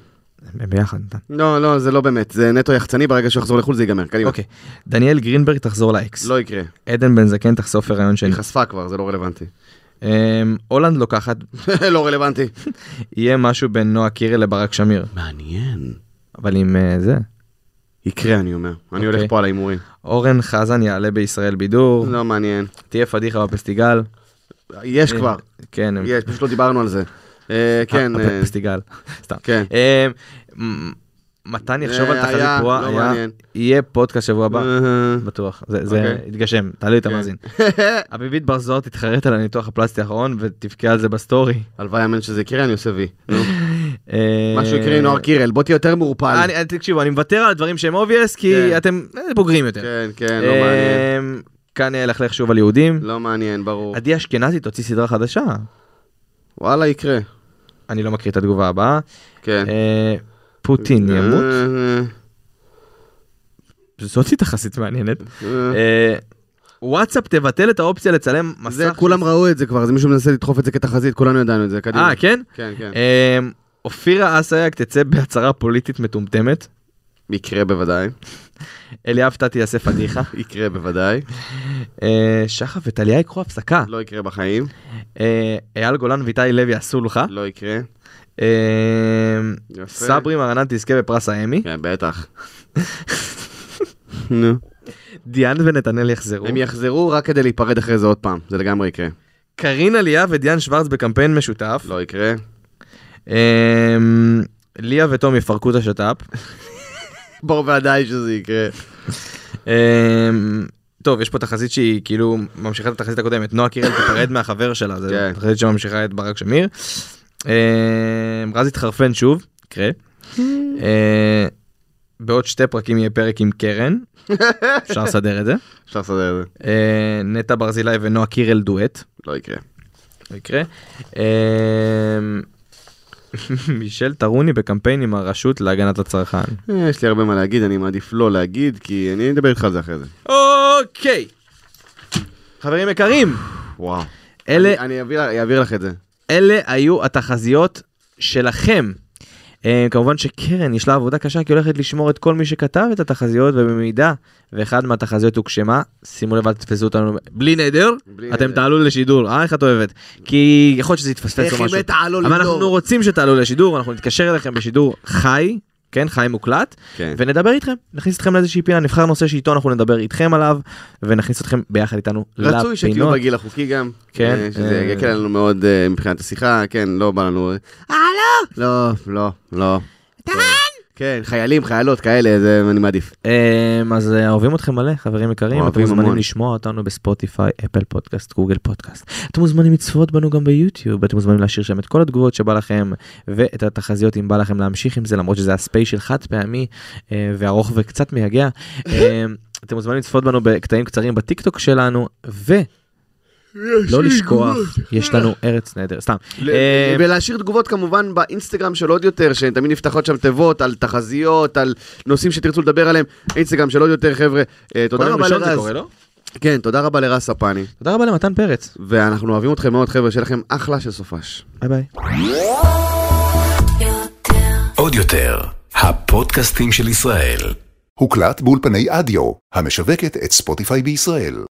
C: הם ביחד. נתן.
B: לא, לא, זה לא באמת, זה נטו יחצני, ברגע שהוא יחזור לחו"ל זה ייגמר, קדימה.
C: אוקיי. דניאל גרינברג תחזור לאקס.
B: לא יקרה.
C: עדן בן זקן תחשוף הריון שני.
B: היא חשפה כבר, זה לא רלוונטי. *laughs*
C: אמ, הולנד לוקחת,
B: לא רלוונטי.
C: יהיה משהו בין נועה קירל לברק שמיר.
B: מעניין.
C: אבל עם אה, זה.
B: יקרה, אני אומר. אני
C: אוקיי.
B: הולך פה על ההימורים.
C: אורן חזן יעלה בישראל בידור.
B: לא מעניין.
C: תהיה פדיחה בפסטיגל.
B: יש כבר.
C: כן. הם-
B: יש, פשוט לא דיברנו על זה. אה,
C: אה,
B: כן. אה,
C: פסטיגל. *laughs* סתם.
B: כן.
C: אמ, מ- מתן יחשוב על
B: היה,
C: תחזית
B: לא
C: פרועה. היה-
B: מעניין.
C: יהיה פודקאסט שבוע הבא.
B: אה,
C: בטוח. זה- זה
B: אוקיי.
C: יתגשם. תעלו את
B: כן. *laughs*
C: המאזין. אביבית בר זוהר תתחרט על הניתוח הפלסטי האחרון ותבכה על זה בסטורי.
B: הלוואי אמן שזה יקרה, אני עושה וי. נו.
C: אה,
B: משהו יקרה עם נוער קירל, בוא תהיה יותר מעורפל.
C: אני- אני- תקשיבו, אני מוותר על הדברים שהם אובייס, כי
B: כן.
C: אתם אה, בוגרים יותר.
B: כן, כן, לא מעניין.
C: אמ, כאן ילכלך שוב על יהודים.
B: לא מעניין, ברור.
C: עדי אשכנזי תוציא סדרה חדשה.
B: וואלה, יקרה.
C: אני לא מקריא את התגובה הבאה.
B: כן.
C: אה, פוטין ימות.
B: אה,
C: זאתי תחסית מעניינת.
B: אה, אה.
C: אה, וואטסאפ תבטל את האופציה לצלם אה, מסך.
B: זה, כולם ראו את זה כבר, זה מישהו מנסה לדחוף את זה כתחזית, כולנו ידענו את זה, קדימה.
C: אה, כן?
B: כן, כן.
C: אה, אופירה אסייג תצא בהצהרה פוליטית מטומטמת.
B: יקרה בוודאי.
C: אליאב תתי יעשה פדיחה.
B: יקרה בוודאי.
C: אה, שחף וטליה יקחו הפסקה.
B: לא יקרה בחיים.
C: אה, אייל גולן ואיתי לוי עשו לך.
B: לא יקרה.
C: אה,
B: יפה.
C: סברי מרנן תזכה בפרס האמי.
B: כן,
C: *laughs*
B: בטח. נו.
C: דיאן ונתנאל יחזרו.
B: הם יחזרו רק כדי להיפרד אחרי זה עוד פעם, זה לגמרי יקרה.
C: קרין עלייה ודיאן שוורץ בקמפיין משותף.
B: לא יקרה.
C: אה, ליה ותום יפרקו את השת"פ.
B: ברור ודאי שזה יקרה.
C: אמ, טוב, יש פה תחזית שהיא כאילו ממשיכה את התחזית הקודמת. נועה קירל *coughs* תיפרד מהחבר שלה, זו
B: כן.
C: תחזית שממשיכה את ברק שמיר. אמ, רז התחרפן שוב, *coughs* יקרה. אה, בעוד שתי פרקים יהיה פרק עם *laughs* קרן, אפשר לסדר את זה.
B: אפשר לסדר את זה.
C: אה, נטע ברזילי ונועה קירל דואט,
B: לא יקרה.
C: לא יקרה. אמ, *laughs* מישל טרוני בקמפיין עם הרשות להגנת הצרכן.
B: אה, יש לי הרבה מה להגיד, אני מעדיף לא להגיד, כי אני אדבר איתך על זה אחרי זה.
C: אוקיי. חברים יקרים,
B: וואו.
C: אלה
B: אני- אני אביא לה- אעביר לך את זה.
C: אלה היו התחזיות שלכם. אה, כמובן שקרן יש לה עבודה קשה כי היא הולכת לשמור את כל מי שכתב את התחזיות ובמידה ואחד מהתחזיות הוגשמה שימו לב אל תתפסו אותנו בלי נדר
B: בלי
C: אתם
B: נדר.
C: תעלו לשידור אה איך את אוהבת כי יכול להיות שזה יתפספס או משהו אבל אנחנו רוצים שתעלו לשידור אנחנו נתקשר אליכם בשידור חי כן חי מוקלט
B: כן.
C: ונדבר איתכם נכניס אתכם לאיזושהי פינה נבחר נושא שאיתו אנחנו נדבר איתכם עליו ונכניס אתכם ביחד איתנו
B: רצוי שתהיו
C: לפינות.
B: בגיל החוקי גם.
C: כן.
B: אה, שזה
C: אה.
B: יקל עלינו מאוד אה, מבחינת השיחה, כן, לא בא לנו... אה, לא! לא, לא, לא. טען! כן, חיילים, חיילות כאלה, זה אני מעדיף.
C: אמ, אז אה, אוהבים אתכם מלא, חברים יקרים, אתם
B: אוהבים
C: מוזמנים
B: המון.
C: לשמוע אותנו בספוטיפיי, אפל פודקאסט, גוגל פודקאסט. אתם מוזמנים לצפות בנו גם ביוטיוב, אתם מוזמנים להשאיר שם את כל התגובות שבא לכם, ואת התחזיות אם בא לכם להמשיך עם זה, למרות שזה הספיישל חד פעמי, אה, וארוך
B: *laughs*
C: וקצת מייגע. אמ, אתם מוזמנים לצפות בנו בקטעים קצרים בטיקטוק שלנו, ולא לשכוח, יש לנו ארץ נהדר, סתם.
B: ל-
C: אמ,
B: ולהשאיר תגובות כמובן באינסטגרם של עוד יותר, שהן תמיד נפתחות שם תיבות על תחזיות, על נושאים שתרצו לדבר עליהם. אינסטגרם של עוד יותר, חבר'ה. אה,
C: כל
B: תודה
C: יום
B: רבה
C: ראשון זה
B: לרז.
C: קורה, לא?
B: כן, תודה רבה לרז ספני.
C: תודה רבה למתן פרץ,
B: ואנחנו אוהבים אתכם מאוד, חבר'ה, שיהיה לכם אחלה של סופש.
C: ביי ביי.
A: עוד יותר, הפודקאסטים של ישראל.
D: הוקלט באולפני אדיו, המשווקת את ספוטיפיי בישראל.